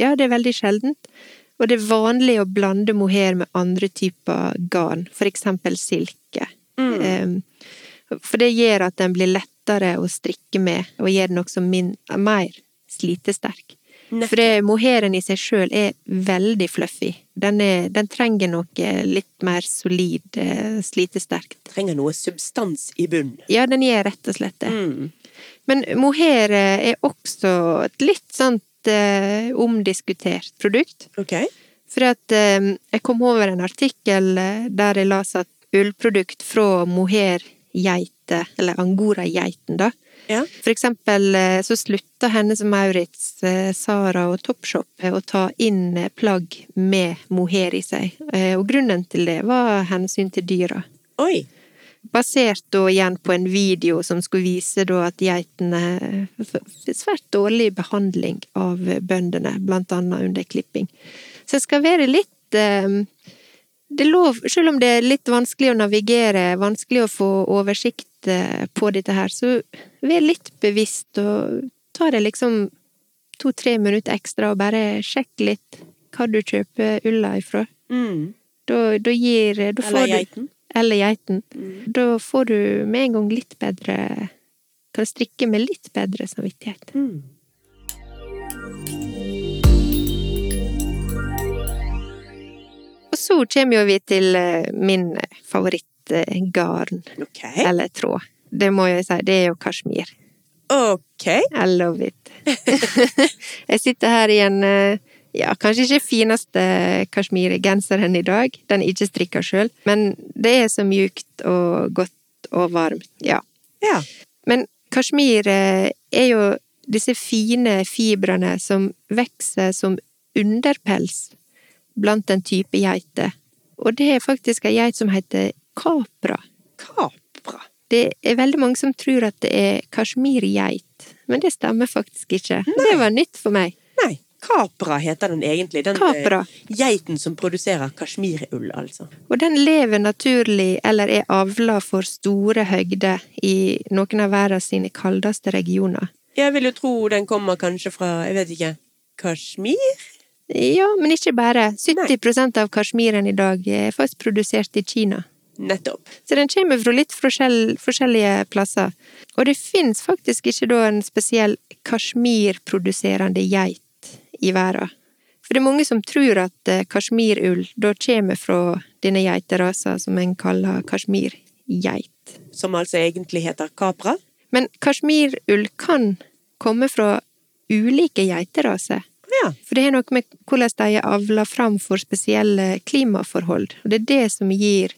[SPEAKER 1] Ja, det er veldig sjeldent. Og det er vanlig å blande mohair med andre typer garn, for eksempel silke. Eh, for det gjør at den blir lettere å strikke med, og gjør den også min, mer slitesterk. For det, mohairen i seg sjøl er veldig fluffy. Den, er, den trenger noe litt mer solid, eh, slitesterkt.
[SPEAKER 2] Trenger noe substans i bunnen.
[SPEAKER 1] Ja, den gjør rett og slett det.
[SPEAKER 2] Mm.
[SPEAKER 1] Men mohair eh, er også et litt sånt eh, omdiskutert produkt.
[SPEAKER 2] Ok.
[SPEAKER 1] For at eh, jeg kom over en artikkel eh, der jeg leste at ullprodukt fra mohairgeiter, eller angorageiten, da
[SPEAKER 2] Ja.
[SPEAKER 1] For eksempel eh, så slutta Hennes og Maurits, eh, Sara og Topshop eh, å ta inn eh, plagg med mohair i seg. Eh, Og grunnen til det var hensyn til dyra.
[SPEAKER 2] Oi.
[SPEAKER 1] Basert da igjen på en video som skulle vise da at geitene fikk svært dårlig behandling av bøndene, blant annet under klipping. Så det skal være litt eh, det er lov, Selv om det er litt vanskelig å navigere, vanskelig å få oversikt eh, på dette her, så vær litt bevisst og ta det liksom to-tre minutter ekstra og bare sjekk litt hva du kjøper ulla ifra.
[SPEAKER 2] Mm.
[SPEAKER 1] Da, da gir eh, da får
[SPEAKER 2] Eller
[SPEAKER 1] du-
[SPEAKER 2] geiten. Mm.
[SPEAKER 1] eller geiten. Da får du med en gang litt bedre Kan strikke med litt bedre samvittighet.
[SPEAKER 2] Mm.
[SPEAKER 1] Og så kommer jo vi til eh, min favorittgarn,
[SPEAKER 2] Ok.
[SPEAKER 1] eller tråd. Det må jeg si, det er jo kasjmir.
[SPEAKER 2] Ok.
[SPEAKER 1] I love it. jeg sitter her i en eh, ja, kanskje ikke fineste kasjmirgenseren i dag. Den er ikke strikka sjøl, men det er så mjukt og godt og varmt. Ja.
[SPEAKER 2] Ja.
[SPEAKER 1] Men kasjmir eh, er jo disse fine fibrene som vokser som underpels blant en type geiter. Og det er faktisk ei geit som heter capra.
[SPEAKER 2] Kapra.
[SPEAKER 1] Det er veldig mange som tror at det er kasjmirgeit, men det stemmer faktisk ikke. Det var nytt for meg.
[SPEAKER 2] Nei, kapra heter den egentlig. Den eh,
[SPEAKER 1] Capra.
[SPEAKER 2] geiten som produserer kasjmirull, altså.
[SPEAKER 1] Og den lever naturlig eller er avla for store høgder i noen av verden sine kaldeste regioner.
[SPEAKER 2] Jeg vil jo tro den kommer kanskje fra, jeg vet ikke, Kashmir?
[SPEAKER 1] Ja, men ikke bare. 70 av kasjmiren i dag er faktisk produsert i Kina.
[SPEAKER 2] Nettopp.
[SPEAKER 1] Så den kommer fra litt forskjell, forskjellige plasser. Og det finnes faktisk ikke da en spesiell kasjmirproduserende geit i verden. For det er mange som tror at eh, kasjmirull da kommer fra denne geiterasa som en kaller kasjmirgeit.
[SPEAKER 2] Som altså egentlig heter kapra.
[SPEAKER 1] Men kasjmirull kan komme fra ulike geiteraser.
[SPEAKER 2] Ja.
[SPEAKER 1] For det har noe med hvordan de er avla fram for spesielle klimaforhold. Og det er det som gir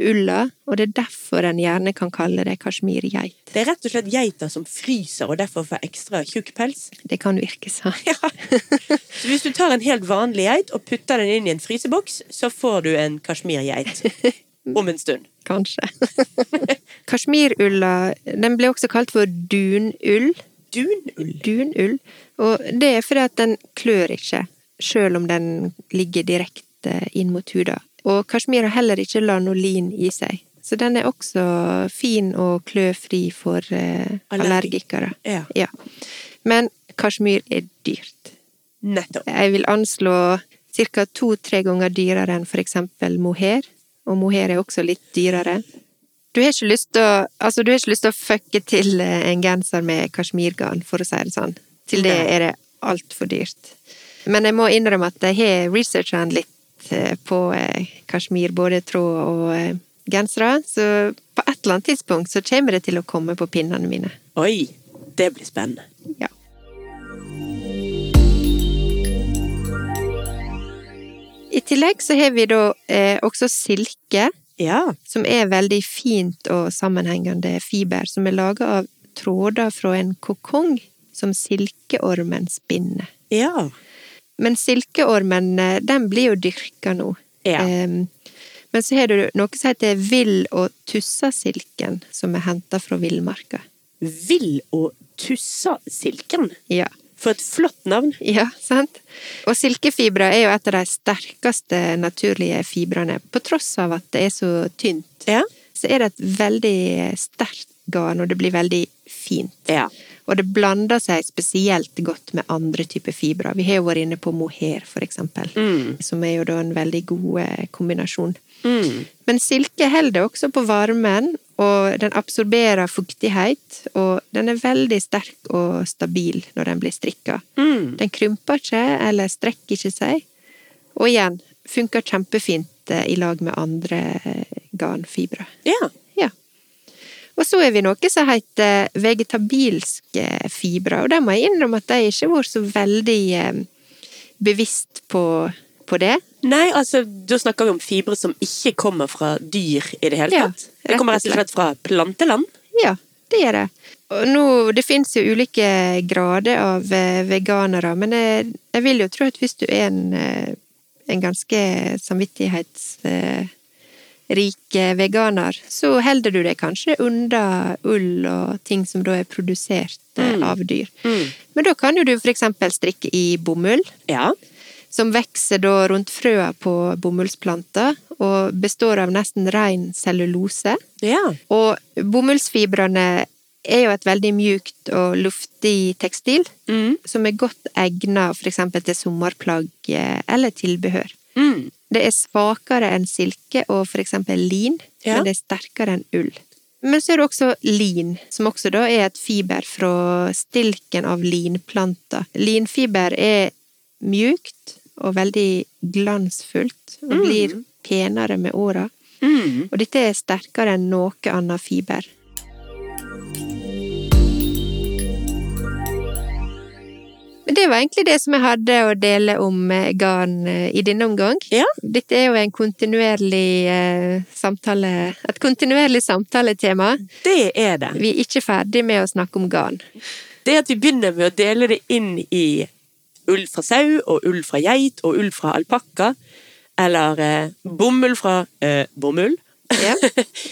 [SPEAKER 1] ulla, og det er derfor en gjerne kan kalle det kasjmirgeit.
[SPEAKER 2] Det er rett og slett geiter som fryser og derfor får ekstra tjukk pels.
[SPEAKER 1] Det kan virke sånn.
[SPEAKER 2] Så hvis du tar en helt vanlig geit og putter den inn i en fryseboks, så får du en kasjmirgeit om en stund.
[SPEAKER 1] Kanskje. Kasjmirulla, den ble også kalt for dunull.
[SPEAKER 2] Dunull.
[SPEAKER 1] Dunull. Og det er fordi at den klør ikke, sjøl om den ligger direkte inn mot huda. Og kasjmir har heller ikke lanolin i seg. Så den er også fin og kløfri for eh,
[SPEAKER 2] Allergi-
[SPEAKER 1] allergikere.
[SPEAKER 2] Ja,
[SPEAKER 1] Ja. Men kasjmir er dyrt.
[SPEAKER 2] nettopp.
[SPEAKER 1] Jeg vil anslå ca. to-tre ganger dyrere enn for eksempel mohair. Og mohair er også litt dyrere. Du har ikke lyst til å, altså, du har ikke lyst til å fucke til eh, en genser med kasjmirgarn, for å si det sånn. Til det
[SPEAKER 2] Nei.
[SPEAKER 1] er det altfor dyrt. Men jeg må innrømme at jeg har researcha den litt eh, på eh, kasjmir, både tråd og eh, gensere. Så på et eller annet tidspunkt så kommer det til å komme på pinnene mine.
[SPEAKER 2] Oi, det blir spennende.
[SPEAKER 1] Ja. I tillegg så har vi da eh, også silke,
[SPEAKER 2] Ja.
[SPEAKER 1] som er veldig fint og sammenhengende fiber, som er laga av tråder fra en kokong som silkeormen spinner.
[SPEAKER 2] Ja.
[SPEAKER 1] Men silkeormen, eh, den blir jo dyrka nå.
[SPEAKER 2] Ja.
[SPEAKER 1] Em, men så har du noe som heter vill- og tussasilken, som er henta fra villmarka.
[SPEAKER 2] Vill og tussa silken.
[SPEAKER 1] Ja.
[SPEAKER 2] For et flott navn.
[SPEAKER 1] Ja, sant? Og silkefibre er jo et av de sterkeste naturlige fibrene. På tross av at det er så tynt,
[SPEAKER 2] Ja.
[SPEAKER 1] så er det et veldig sterkt garn, og det blir veldig fint.
[SPEAKER 2] Ja.
[SPEAKER 1] Og det blander seg spesielt godt med andre typer fibre. Vi har jo vært inne på mohair, for eksempel,
[SPEAKER 2] Mm.
[SPEAKER 1] som er jo da en veldig god eh, kombinasjon.
[SPEAKER 2] Mm.
[SPEAKER 1] Men silke holder også på varmen, og den absorberer fuktighet, og den er veldig sterk og stabil når den blir strikka.
[SPEAKER 2] Mm.
[SPEAKER 1] Den krymper ikke eller strekker ikke seg. Og igjen, funker kjempefint eh, i lag med andre eh, garnfibre.
[SPEAKER 2] Ja.
[SPEAKER 1] Ja. Og så er vi noe som heter vegetabilske fibre, og der må jeg innrømme at jeg ikke har vært så veldig eh, bevisst på, på det.
[SPEAKER 2] Nei, altså, da snakker vi om fibre som ikke kommer fra dyr i det hele
[SPEAKER 1] Ja,
[SPEAKER 2] tatt. det kommer rett og slett fra planteland.
[SPEAKER 1] Ja, det gjør det. Og nå, det finnes jo ulike grader av eh, veganere, men jeg, jeg vil jo tro at hvis du er en, eh, en ganske samvittighetsrik eh, veganer, så holder du deg kanskje unna ull og ting som da er produsert eh, av dyr. Men da kan jo du for eksempel strikke i bomull
[SPEAKER 2] Ja.
[SPEAKER 1] som vokser da rundt frøa på bomullsplanter, og består av nesten ren cellulose.
[SPEAKER 2] Ja.
[SPEAKER 1] Og bomullsfibrene er jo et veldig mjukt og luftig tekstil,
[SPEAKER 2] Mm.
[SPEAKER 1] som er godt egnet for eksempel til sommerplagg eh, eller tilbehør.
[SPEAKER 2] Mm.
[SPEAKER 1] Det er svakere enn silke og for eksempel lin,
[SPEAKER 2] Ja.
[SPEAKER 1] men det er sterkere enn ull. Men så er det også lin, som også da er et fiber fra stilken av linplanter. Linfiber er mjukt og veldig glansfullt, og blir penere med åra.
[SPEAKER 2] Mm.
[SPEAKER 1] Og dette er sterkere enn noe annet fiber. Men det var egentlig det som jeg hadde å dele om eh, garn eh, i denne omgang.
[SPEAKER 2] Ja.
[SPEAKER 1] Dette er jo en kontinuerlig eh, samtale Et kontinuerlig samtaletema.
[SPEAKER 2] Det er det.
[SPEAKER 1] Vi er ikke ferdig med å snakke om garn.
[SPEAKER 2] det er at vi begynner med å dele det inn i ull fra sau, og ull fra geit, og ull fra alpakka. Eller eh, bomull fra eh, bomull.
[SPEAKER 1] Ja.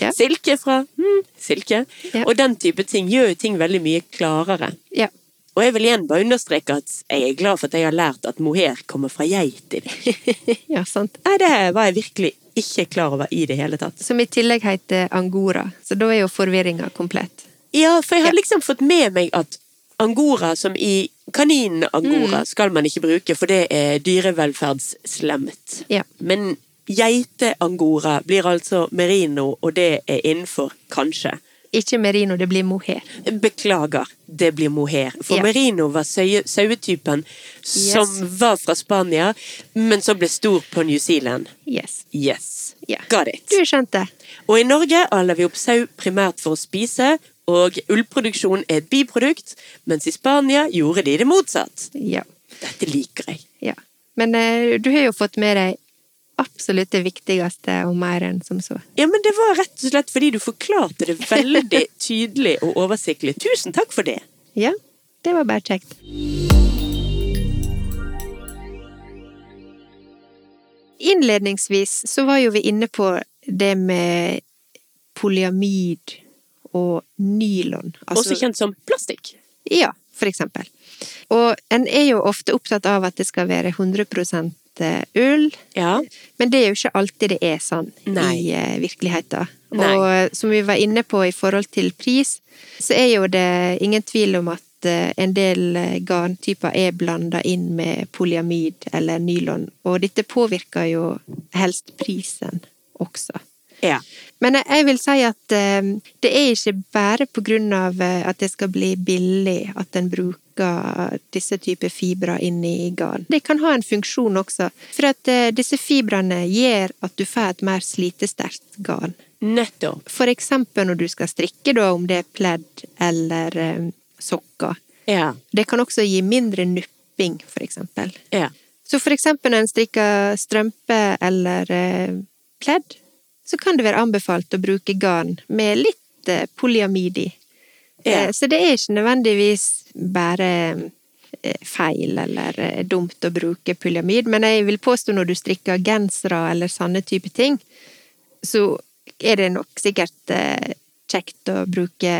[SPEAKER 1] Ja.
[SPEAKER 2] Silke fra mm, silke.
[SPEAKER 1] Ja.
[SPEAKER 2] Og den type ting gjør jo ting veldig mye klarere.
[SPEAKER 1] ja.
[SPEAKER 2] Og jeg vil igjen bare understreke at jeg er glad for at jeg har lært at mohair kommer fra geiter.
[SPEAKER 1] ja, sant.
[SPEAKER 2] Nei, det var jeg virkelig ikke klar over i det hele tatt.
[SPEAKER 1] Som i tillegg heter angora, så da er jo forvirringa komplett.
[SPEAKER 2] Ja, for jeg har liksom fått med meg at angora, som i kaninangora, skal man ikke bruke, for det er dyrevelferdsslemt.
[SPEAKER 1] Ja.
[SPEAKER 2] Men geiteangora blir altså merino, og det er innenfor kanskje.
[SPEAKER 1] Ikke merino, det blir mohair.
[SPEAKER 2] Beklager, det blir mohair. For
[SPEAKER 1] Ja.
[SPEAKER 2] merino var søye- sauetypen som var fra Spania, men som ble stor på New Zealand.
[SPEAKER 1] Yes.
[SPEAKER 2] Yes.
[SPEAKER 1] Ja.
[SPEAKER 2] Got it.
[SPEAKER 1] Du skjønte.
[SPEAKER 2] Og i Norge aller vi opp sau primært for å spise, og ullproduksjon er et biprodukt, mens i Spania gjorde de det motsatt.
[SPEAKER 1] Ja.
[SPEAKER 2] Dette liker jeg.
[SPEAKER 1] ja. Men eh, du har jo fått med deg absolutt det viktigste og mer enn som så.
[SPEAKER 2] Ja, men det var rett og slett fordi du forklarte det veldig tydelig og oversiktlig. Tusen takk for det.
[SPEAKER 1] Ja, det var bare kjekt. Innledningsvis så var jo vi inne på det med polyamid og nylon. Altså,
[SPEAKER 2] Også kjent som plastikk.
[SPEAKER 1] Ja, for eksempel. Og en er jo ofte opptatt av at det skal være 100 ull,
[SPEAKER 2] Ja.
[SPEAKER 1] men det er jo ikke alltid det er sånn
[SPEAKER 2] Nei.
[SPEAKER 1] i eh, virkeligheten.
[SPEAKER 2] Nei.
[SPEAKER 1] Og eh, som vi var inne på i forhold til pris, så er jo det ingen tvil om at eh, en del eh, garntyper er blanda inn med polyamid eller nylon, og dette påvirker jo helst prisen også.
[SPEAKER 2] ja.
[SPEAKER 1] Men jeg- jeg vil si at eh, det er ikke bare på grunn av eh, at det skal bli billig at en bruker disse typer fibre inn i garn. Det kan ha en funksjon også, for at eh, disse fibrene gjør at du får et mer slitesterkt garn.
[SPEAKER 2] Nettopp.
[SPEAKER 1] For eksempel når du skal strikke, da, om det er pledd eller eh, sokker.
[SPEAKER 2] Ja.
[SPEAKER 1] Det kan også gi mindre nupping, for eksempel.
[SPEAKER 2] Ja.
[SPEAKER 1] Så for eksempel når en strikker strømpe eller eh, pledd, så kan det være anbefalt å bruke garn med litt eh, polyamid i.
[SPEAKER 2] Ja.
[SPEAKER 1] Eh, så det er ikke nødvendigvis bare eh, feil eller eh, dumt å bruke polyamid, men jeg vil påstå når du strikker gensere eller sånne type ting, så er det nok sikkert eh, kjekt å bruke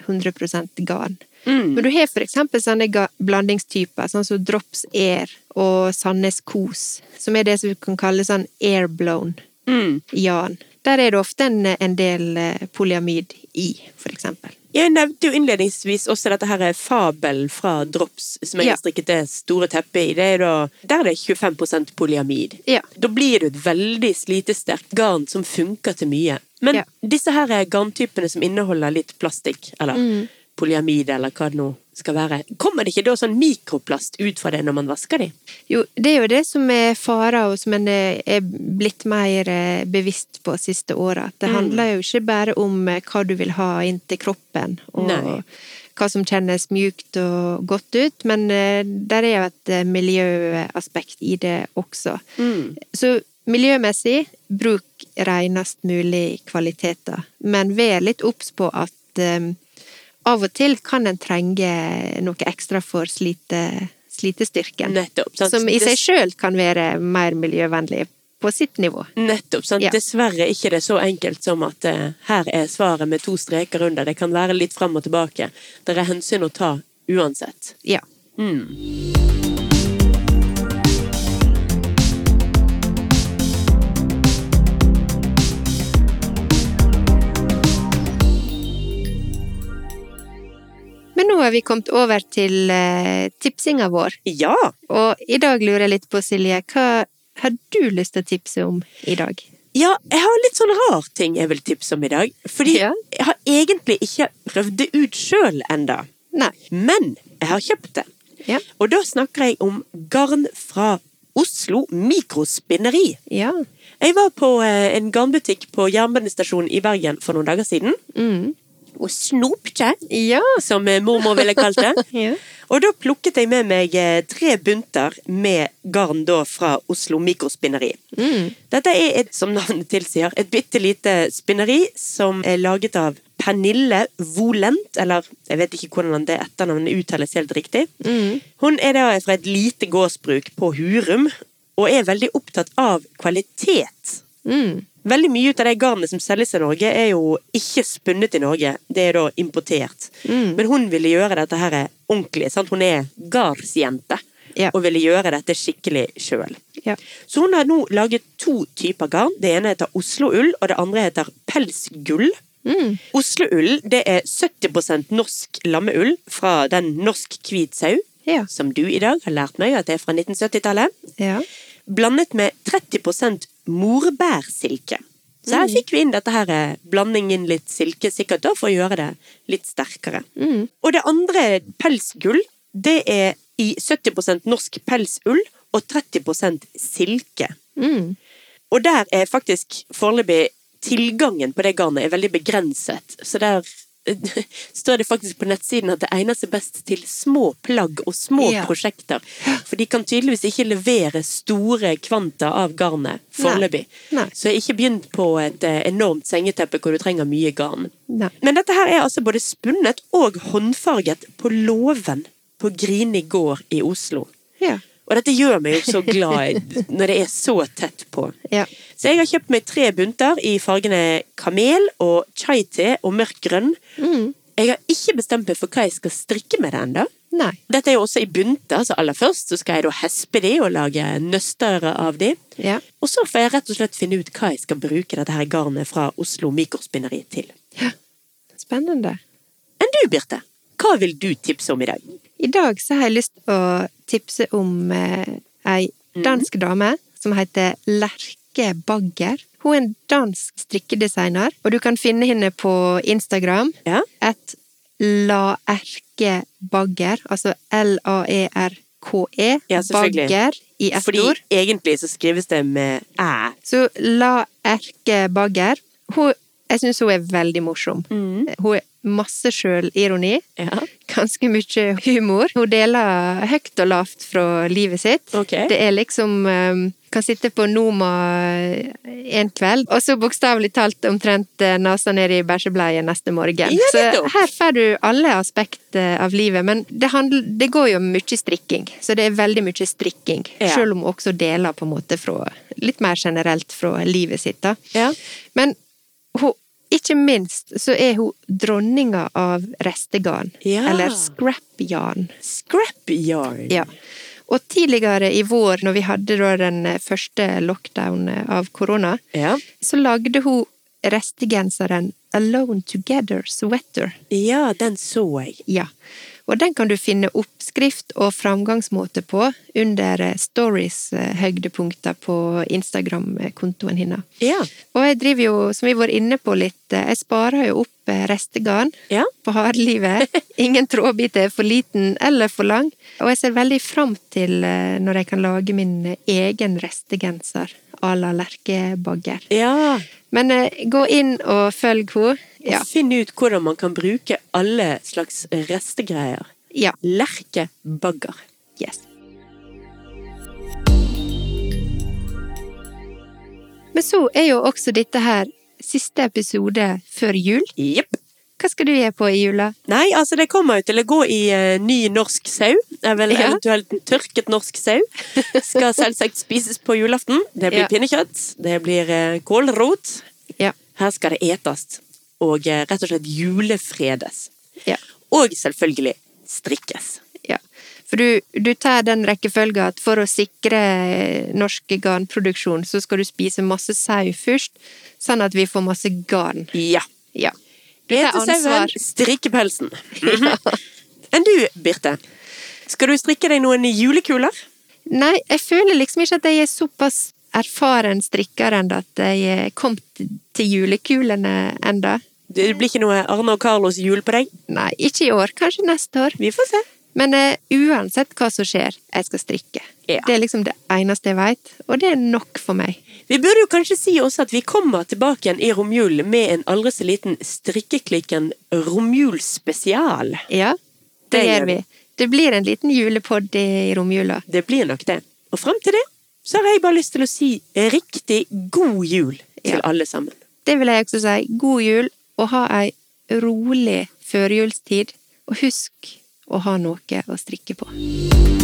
[SPEAKER 1] 100 garn.
[SPEAKER 2] Mm.
[SPEAKER 1] Men du har for eksempel sånne ga- blandingstyper, sånn som Drops Air og Sandnes Kos, som er det som vi kan kalle sånn airblown
[SPEAKER 2] Mm.
[SPEAKER 1] jarn. Der er det ofte en, en del eh, polyamid i, for eksempel.
[SPEAKER 2] Jeg nevnte jo innledningsvis også dette her er fabel fra Drops, som jeg
[SPEAKER 1] Ja.
[SPEAKER 2] har strikket det store teppet i. Det er da, der er det 25 polyamid.
[SPEAKER 1] Ja.
[SPEAKER 2] Da blir det et veldig slitesterkt garn som funker til mye. Men
[SPEAKER 1] Ja.
[SPEAKER 2] disse her er garntypene som inneholder litt plastikk, eller
[SPEAKER 1] Mm.
[SPEAKER 2] polyamid, eller hva det nå skal være. Kommer det ikke da sånn mikroplast ut fra det når man vasker de?
[SPEAKER 1] Jo, det er jo det som er fara, og som en eh, er blitt mer eh, bevisst på siste året. At det handler jo ikke bare om eh, hva du vil ha inn til kroppen, og
[SPEAKER 2] Nei.
[SPEAKER 1] hva som kjennes mjukt og godt ut, men eh, der er jo et eh, miljøaspekt i det også. Så miljømessig, bruk renest mulig kvaliteter, men vær litt obs på at eh, av og til kan en trenge noe ekstra for slite, slitestyrken.
[SPEAKER 2] Mm. Nettopp. sant?
[SPEAKER 1] Som i
[SPEAKER 2] Dess-
[SPEAKER 1] seg sjøl kan være mer miljøvennlig på sitt nivå.
[SPEAKER 2] Nettopp. sant?
[SPEAKER 1] Ja.
[SPEAKER 2] Dessverre ikke det er så enkelt som at eh, her er svaret med to streker under. Det kan være litt fram og tilbake. Det er hensyn å ta uansett.
[SPEAKER 1] Ja. Men nå har vi kommet over til eh, tipsinga vår,
[SPEAKER 2] Ja!
[SPEAKER 1] og i dag lurer jeg litt på, Silje, hva har du lyst til å tipse om i dag?
[SPEAKER 2] Ja, jeg har litt sånn rar ting jeg vil tipse om i dag. Fordi
[SPEAKER 1] Ja.
[SPEAKER 2] jeg har egentlig ikke prøvd det ut sjøl enda.
[SPEAKER 1] Nei.
[SPEAKER 2] Men jeg har kjøpt det.
[SPEAKER 1] Ja.
[SPEAKER 2] Og da snakker jeg om garn fra Oslo Mikrospinneri.
[SPEAKER 1] Ja. Mm.
[SPEAKER 2] Jeg var på eh, en garnbutikk på jernbanestasjonen i Bergen for noen dager siden. og snopte,
[SPEAKER 1] Ja.
[SPEAKER 2] som eh, mormor ville kalt det.
[SPEAKER 1] ja.
[SPEAKER 2] Og da plukket jeg med meg eh, tre bunter med garn da fra Oslo Mikrospinneri.
[SPEAKER 1] Mm.
[SPEAKER 2] Dette er et, som navnet tilsier, et bitte lite spinneri som er laget av Pernille Volent, eller jeg vet ikke hvordan det etternavnet uttales helt riktig. Hun er da fra et lite gårdsbruk på Hurum, og er veldig opptatt av kvalitet.
[SPEAKER 1] Mm.
[SPEAKER 2] Veldig mye ut av det garnet som selges i Norge, er jo ikke spunnet i Norge. Det er da importert. Men hun ville gjøre dette her ordentlig. Sant? Hun er gardsjente.
[SPEAKER 1] Ja.
[SPEAKER 2] Og ville gjøre dette skikkelig sjøl.
[SPEAKER 1] ja.
[SPEAKER 2] Så hun har nå laget to typer garn. Det ene heter Oslo-ull, og det andre heter pelsgull. Oslo-ull det er 70 norsk lammeull fra den norsk hvit sau,
[SPEAKER 1] Ja.
[SPEAKER 2] som du i dag har lært meg at det er fra 1970-tallet
[SPEAKER 1] Ja.
[SPEAKER 2] blandet med 30 morbærsilke. Så her fikk vi inn dette her, eh, blanding inn litt silke, sikkert da, for å gjøre det litt sterkere. Og det andre pelsgull, det er i 70 norsk pelsull og 30 silke.
[SPEAKER 1] Mm.
[SPEAKER 2] Og der er faktisk foreløpig tilgangen på det garnet er veldig begrenset. Så der eh, står det faktisk på nettsiden at det egner seg best til små plagg og små
[SPEAKER 1] Ja.
[SPEAKER 2] prosjekter. For de kan tydeligvis ikke levere store kvanta av garnet foreløpig.
[SPEAKER 1] Nei.
[SPEAKER 2] Så ikke begynn på et eh, enormt sengeteppe hvor du trenger mye garn.
[SPEAKER 1] Nei.
[SPEAKER 2] Men dette her er altså både spunnet og håndfarget på låven på Grini gård i Oslo.
[SPEAKER 1] Ja.
[SPEAKER 2] Og dette gjør meg jo så glad når det er så tett på.
[SPEAKER 1] Ja.
[SPEAKER 2] Så jeg har kjøpt meg tre bunter i fargene kamel og chai-te og mørk grønn.
[SPEAKER 1] Mm.
[SPEAKER 2] Jeg har ikke bestemt meg for hva jeg skal strikke med det ennå.
[SPEAKER 1] Nei.
[SPEAKER 2] Dette er jo også i bunter, så aller først så skal jeg da hespe de og lage nøster av de.
[SPEAKER 1] Ja.
[SPEAKER 2] Og så får jeg rett og slett finne ut hva jeg skal bruke dette her garnet fra Oslo Mikrospinneri til.
[SPEAKER 1] Spennende.
[SPEAKER 2] Enn du, Birte? Hva vil du tipse om i dag?
[SPEAKER 1] I dag så har jeg lyst å tipse om eh, ei
[SPEAKER 2] Mhm.
[SPEAKER 1] dansk dame som heter Lerke Bagger. Hun er en dansk strikkedesigner, og du kan finne henne på Instagram.
[SPEAKER 2] Ja?
[SPEAKER 1] Et Laerke Bagger, altså L-A-E-R-K-E,
[SPEAKER 2] Ja, selvfølgelig.
[SPEAKER 1] E, Bagger i ett
[SPEAKER 2] Fordi
[SPEAKER 1] ord.
[SPEAKER 2] egentlig så skrives det med æ.
[SPEAKER 1] Så La Erke Bagger hun, Jeg syns hun er veldig morsom. Hun er masse sjølironi.
[SPEAKER 2] Ja.
[SPEAKER 1] Ganske mye humor. Hun deler høyt og lavt fra livet sitt.
[SPEAKER 2] Ok.
[SPEAKER 1] Det er liksom eh, Kan sitte på Noma en kveld, og så bokstavelig talt omtrent eh, nesa ned i bæsjebleie neste morgen.
[SPEAKER 2] Ja,
[SPEAKER 1] så
[SPEAKER 2] nettopp.
[SPEAKER 1] her får du alle aspekt eh, av livet, men det, handl- det går jo mye strikking. Så det er veldig mye strikking.
[SPEAKER 2] Ja.
[SPEAKER 1] Selv om hun også deler på en måte fra litt mer generelt fra livet sitt. da.
[SPEAKER 2] Ja.
[SPEAKER 1] Men hun, ikke minst så er hun dronninga av restegarn.
[SPEAKER 2] Ja.
[SPEAKER 1] Eller scrapjarn.
[SPEAKER 2] Scrap yarn.
[SPEAKER 1] Ja. Og tidligere i vår, når vi hadde da den eh, første lockdown eh, av korona,
[SPEAKER 2] Ja.
[SPEAKER 1] så lagde hun restegenseren Alone Together Sweater.
[SPEAKER 2] ja, den så jeg.
[SPEAKER 1] Ja. Og den kan du finne oppskrift og framgangsmåte på under eh, stories-høydepunkter på Instagram-kontoen hennes.
[SPEAKER 2] Ja.
[SPEAKER 1] Og jeg driver jo, som vi var inne på litt, eh, jeg sparer jo opp eh, restegarn
[SPEAKER 2] Ja.
[SPEAKER 1] på hardlivet. Ingen trådbit er for liten eller for lang. Og jeg ser veldig fram til eh, når jeg kan lage min eh, egen restegenser à la Lerkebagger.
[SPEAKER 2] ja.
[SPEAKER 1] Men eh, gå inn og følg henne. Ja.
[SPEAKER 2] Og Finn ut hvordan man kan bruke alle slags restegreier.
[SPEAKER 1] ja.
[SPEAKER 2] Lerkebagger.
[SPEAKER 1] Yes. Men så er jo også dette her siste episode før jul.
[SPEAKER 2] Jepp.
[SPEAKER 1] Hva skal du gjøre på i jula?
[SPEAKER 2] Nei, altså det kommer jo til å gå i eh, ny norsk sau. Er vel
[SPEAKER 1] Ja.
[SPEAKER 2] eventuelt en tørket norsk sau. Skal selvsagt spises på julaften. Det blir
[SPEAKER 1] Ja.
[SPEAKER 2] pinnekjøtt. Det blir eh, kålrot.
[SPEAKER 1] Ja.
[SPEAKER 2] Her skal det etast. Og eh, rett og slett julefredes.
[SPEAKER 1] ja.
[SPEAKER 2] Og selvfølgelig strikkes.
[SPEAKER 1] Ja. For du, du tar den rekkefølgen at for å sikre norsk garnproduksjon, så skal du spise masse sau først, sånn at vi får masse garn.
[SPEAKER 2] Ja.
[SPEAKER 1] Ja. Du tar ansvar.
[SPEAKER 2] Etesauen, strikkepelsen. Mhm. Enn du, Birte? Skal du strikke deg noen julekuler?
[SPEAKER 1] Nei, jeg føler liksom ikke at jeg er såpass erfaren strikker ennå at jeg er kommet til julekulene ennå.
[SPEAKER 2] Det blir ikke noe Arne og Carlos jul på deg?
[SPEAKER 1] Nei, ikke i år. Kanskje neste år.
[SPEAKER 2] Vi får se.
[SPEAKER 1] Men eh, uansett hva som skjer, jeg skal strikke.
[SPEAKER 2] Ja.
[SPEAKER 1] Det er liksom det eneste jeg veit, og det er nok for meg.
[SPEAKER 2] Vi burde jo kanskje si også at vi kommer tilbake igjen i romjulen med en aldri så liten strikkeklikken romjulspesial.
[SPEAKER 1] Ja, det,
[SPEAKER 2] Det gjør
[SPEAKER 1] gjør vi. Det blir en liten julepod i romjula.
[SPEAKER 2] Det blir nok det. Og frem til det så har jeg bare lyst til å si riktig god jul til
[SPEAKER 1] Ja.
[SPEAKER 2] alle sammen.
[SPEAKER 1] Det vil jeg også si. God jul, og ha ei rolig førjulstid. Og husk å ha noe å strikke på.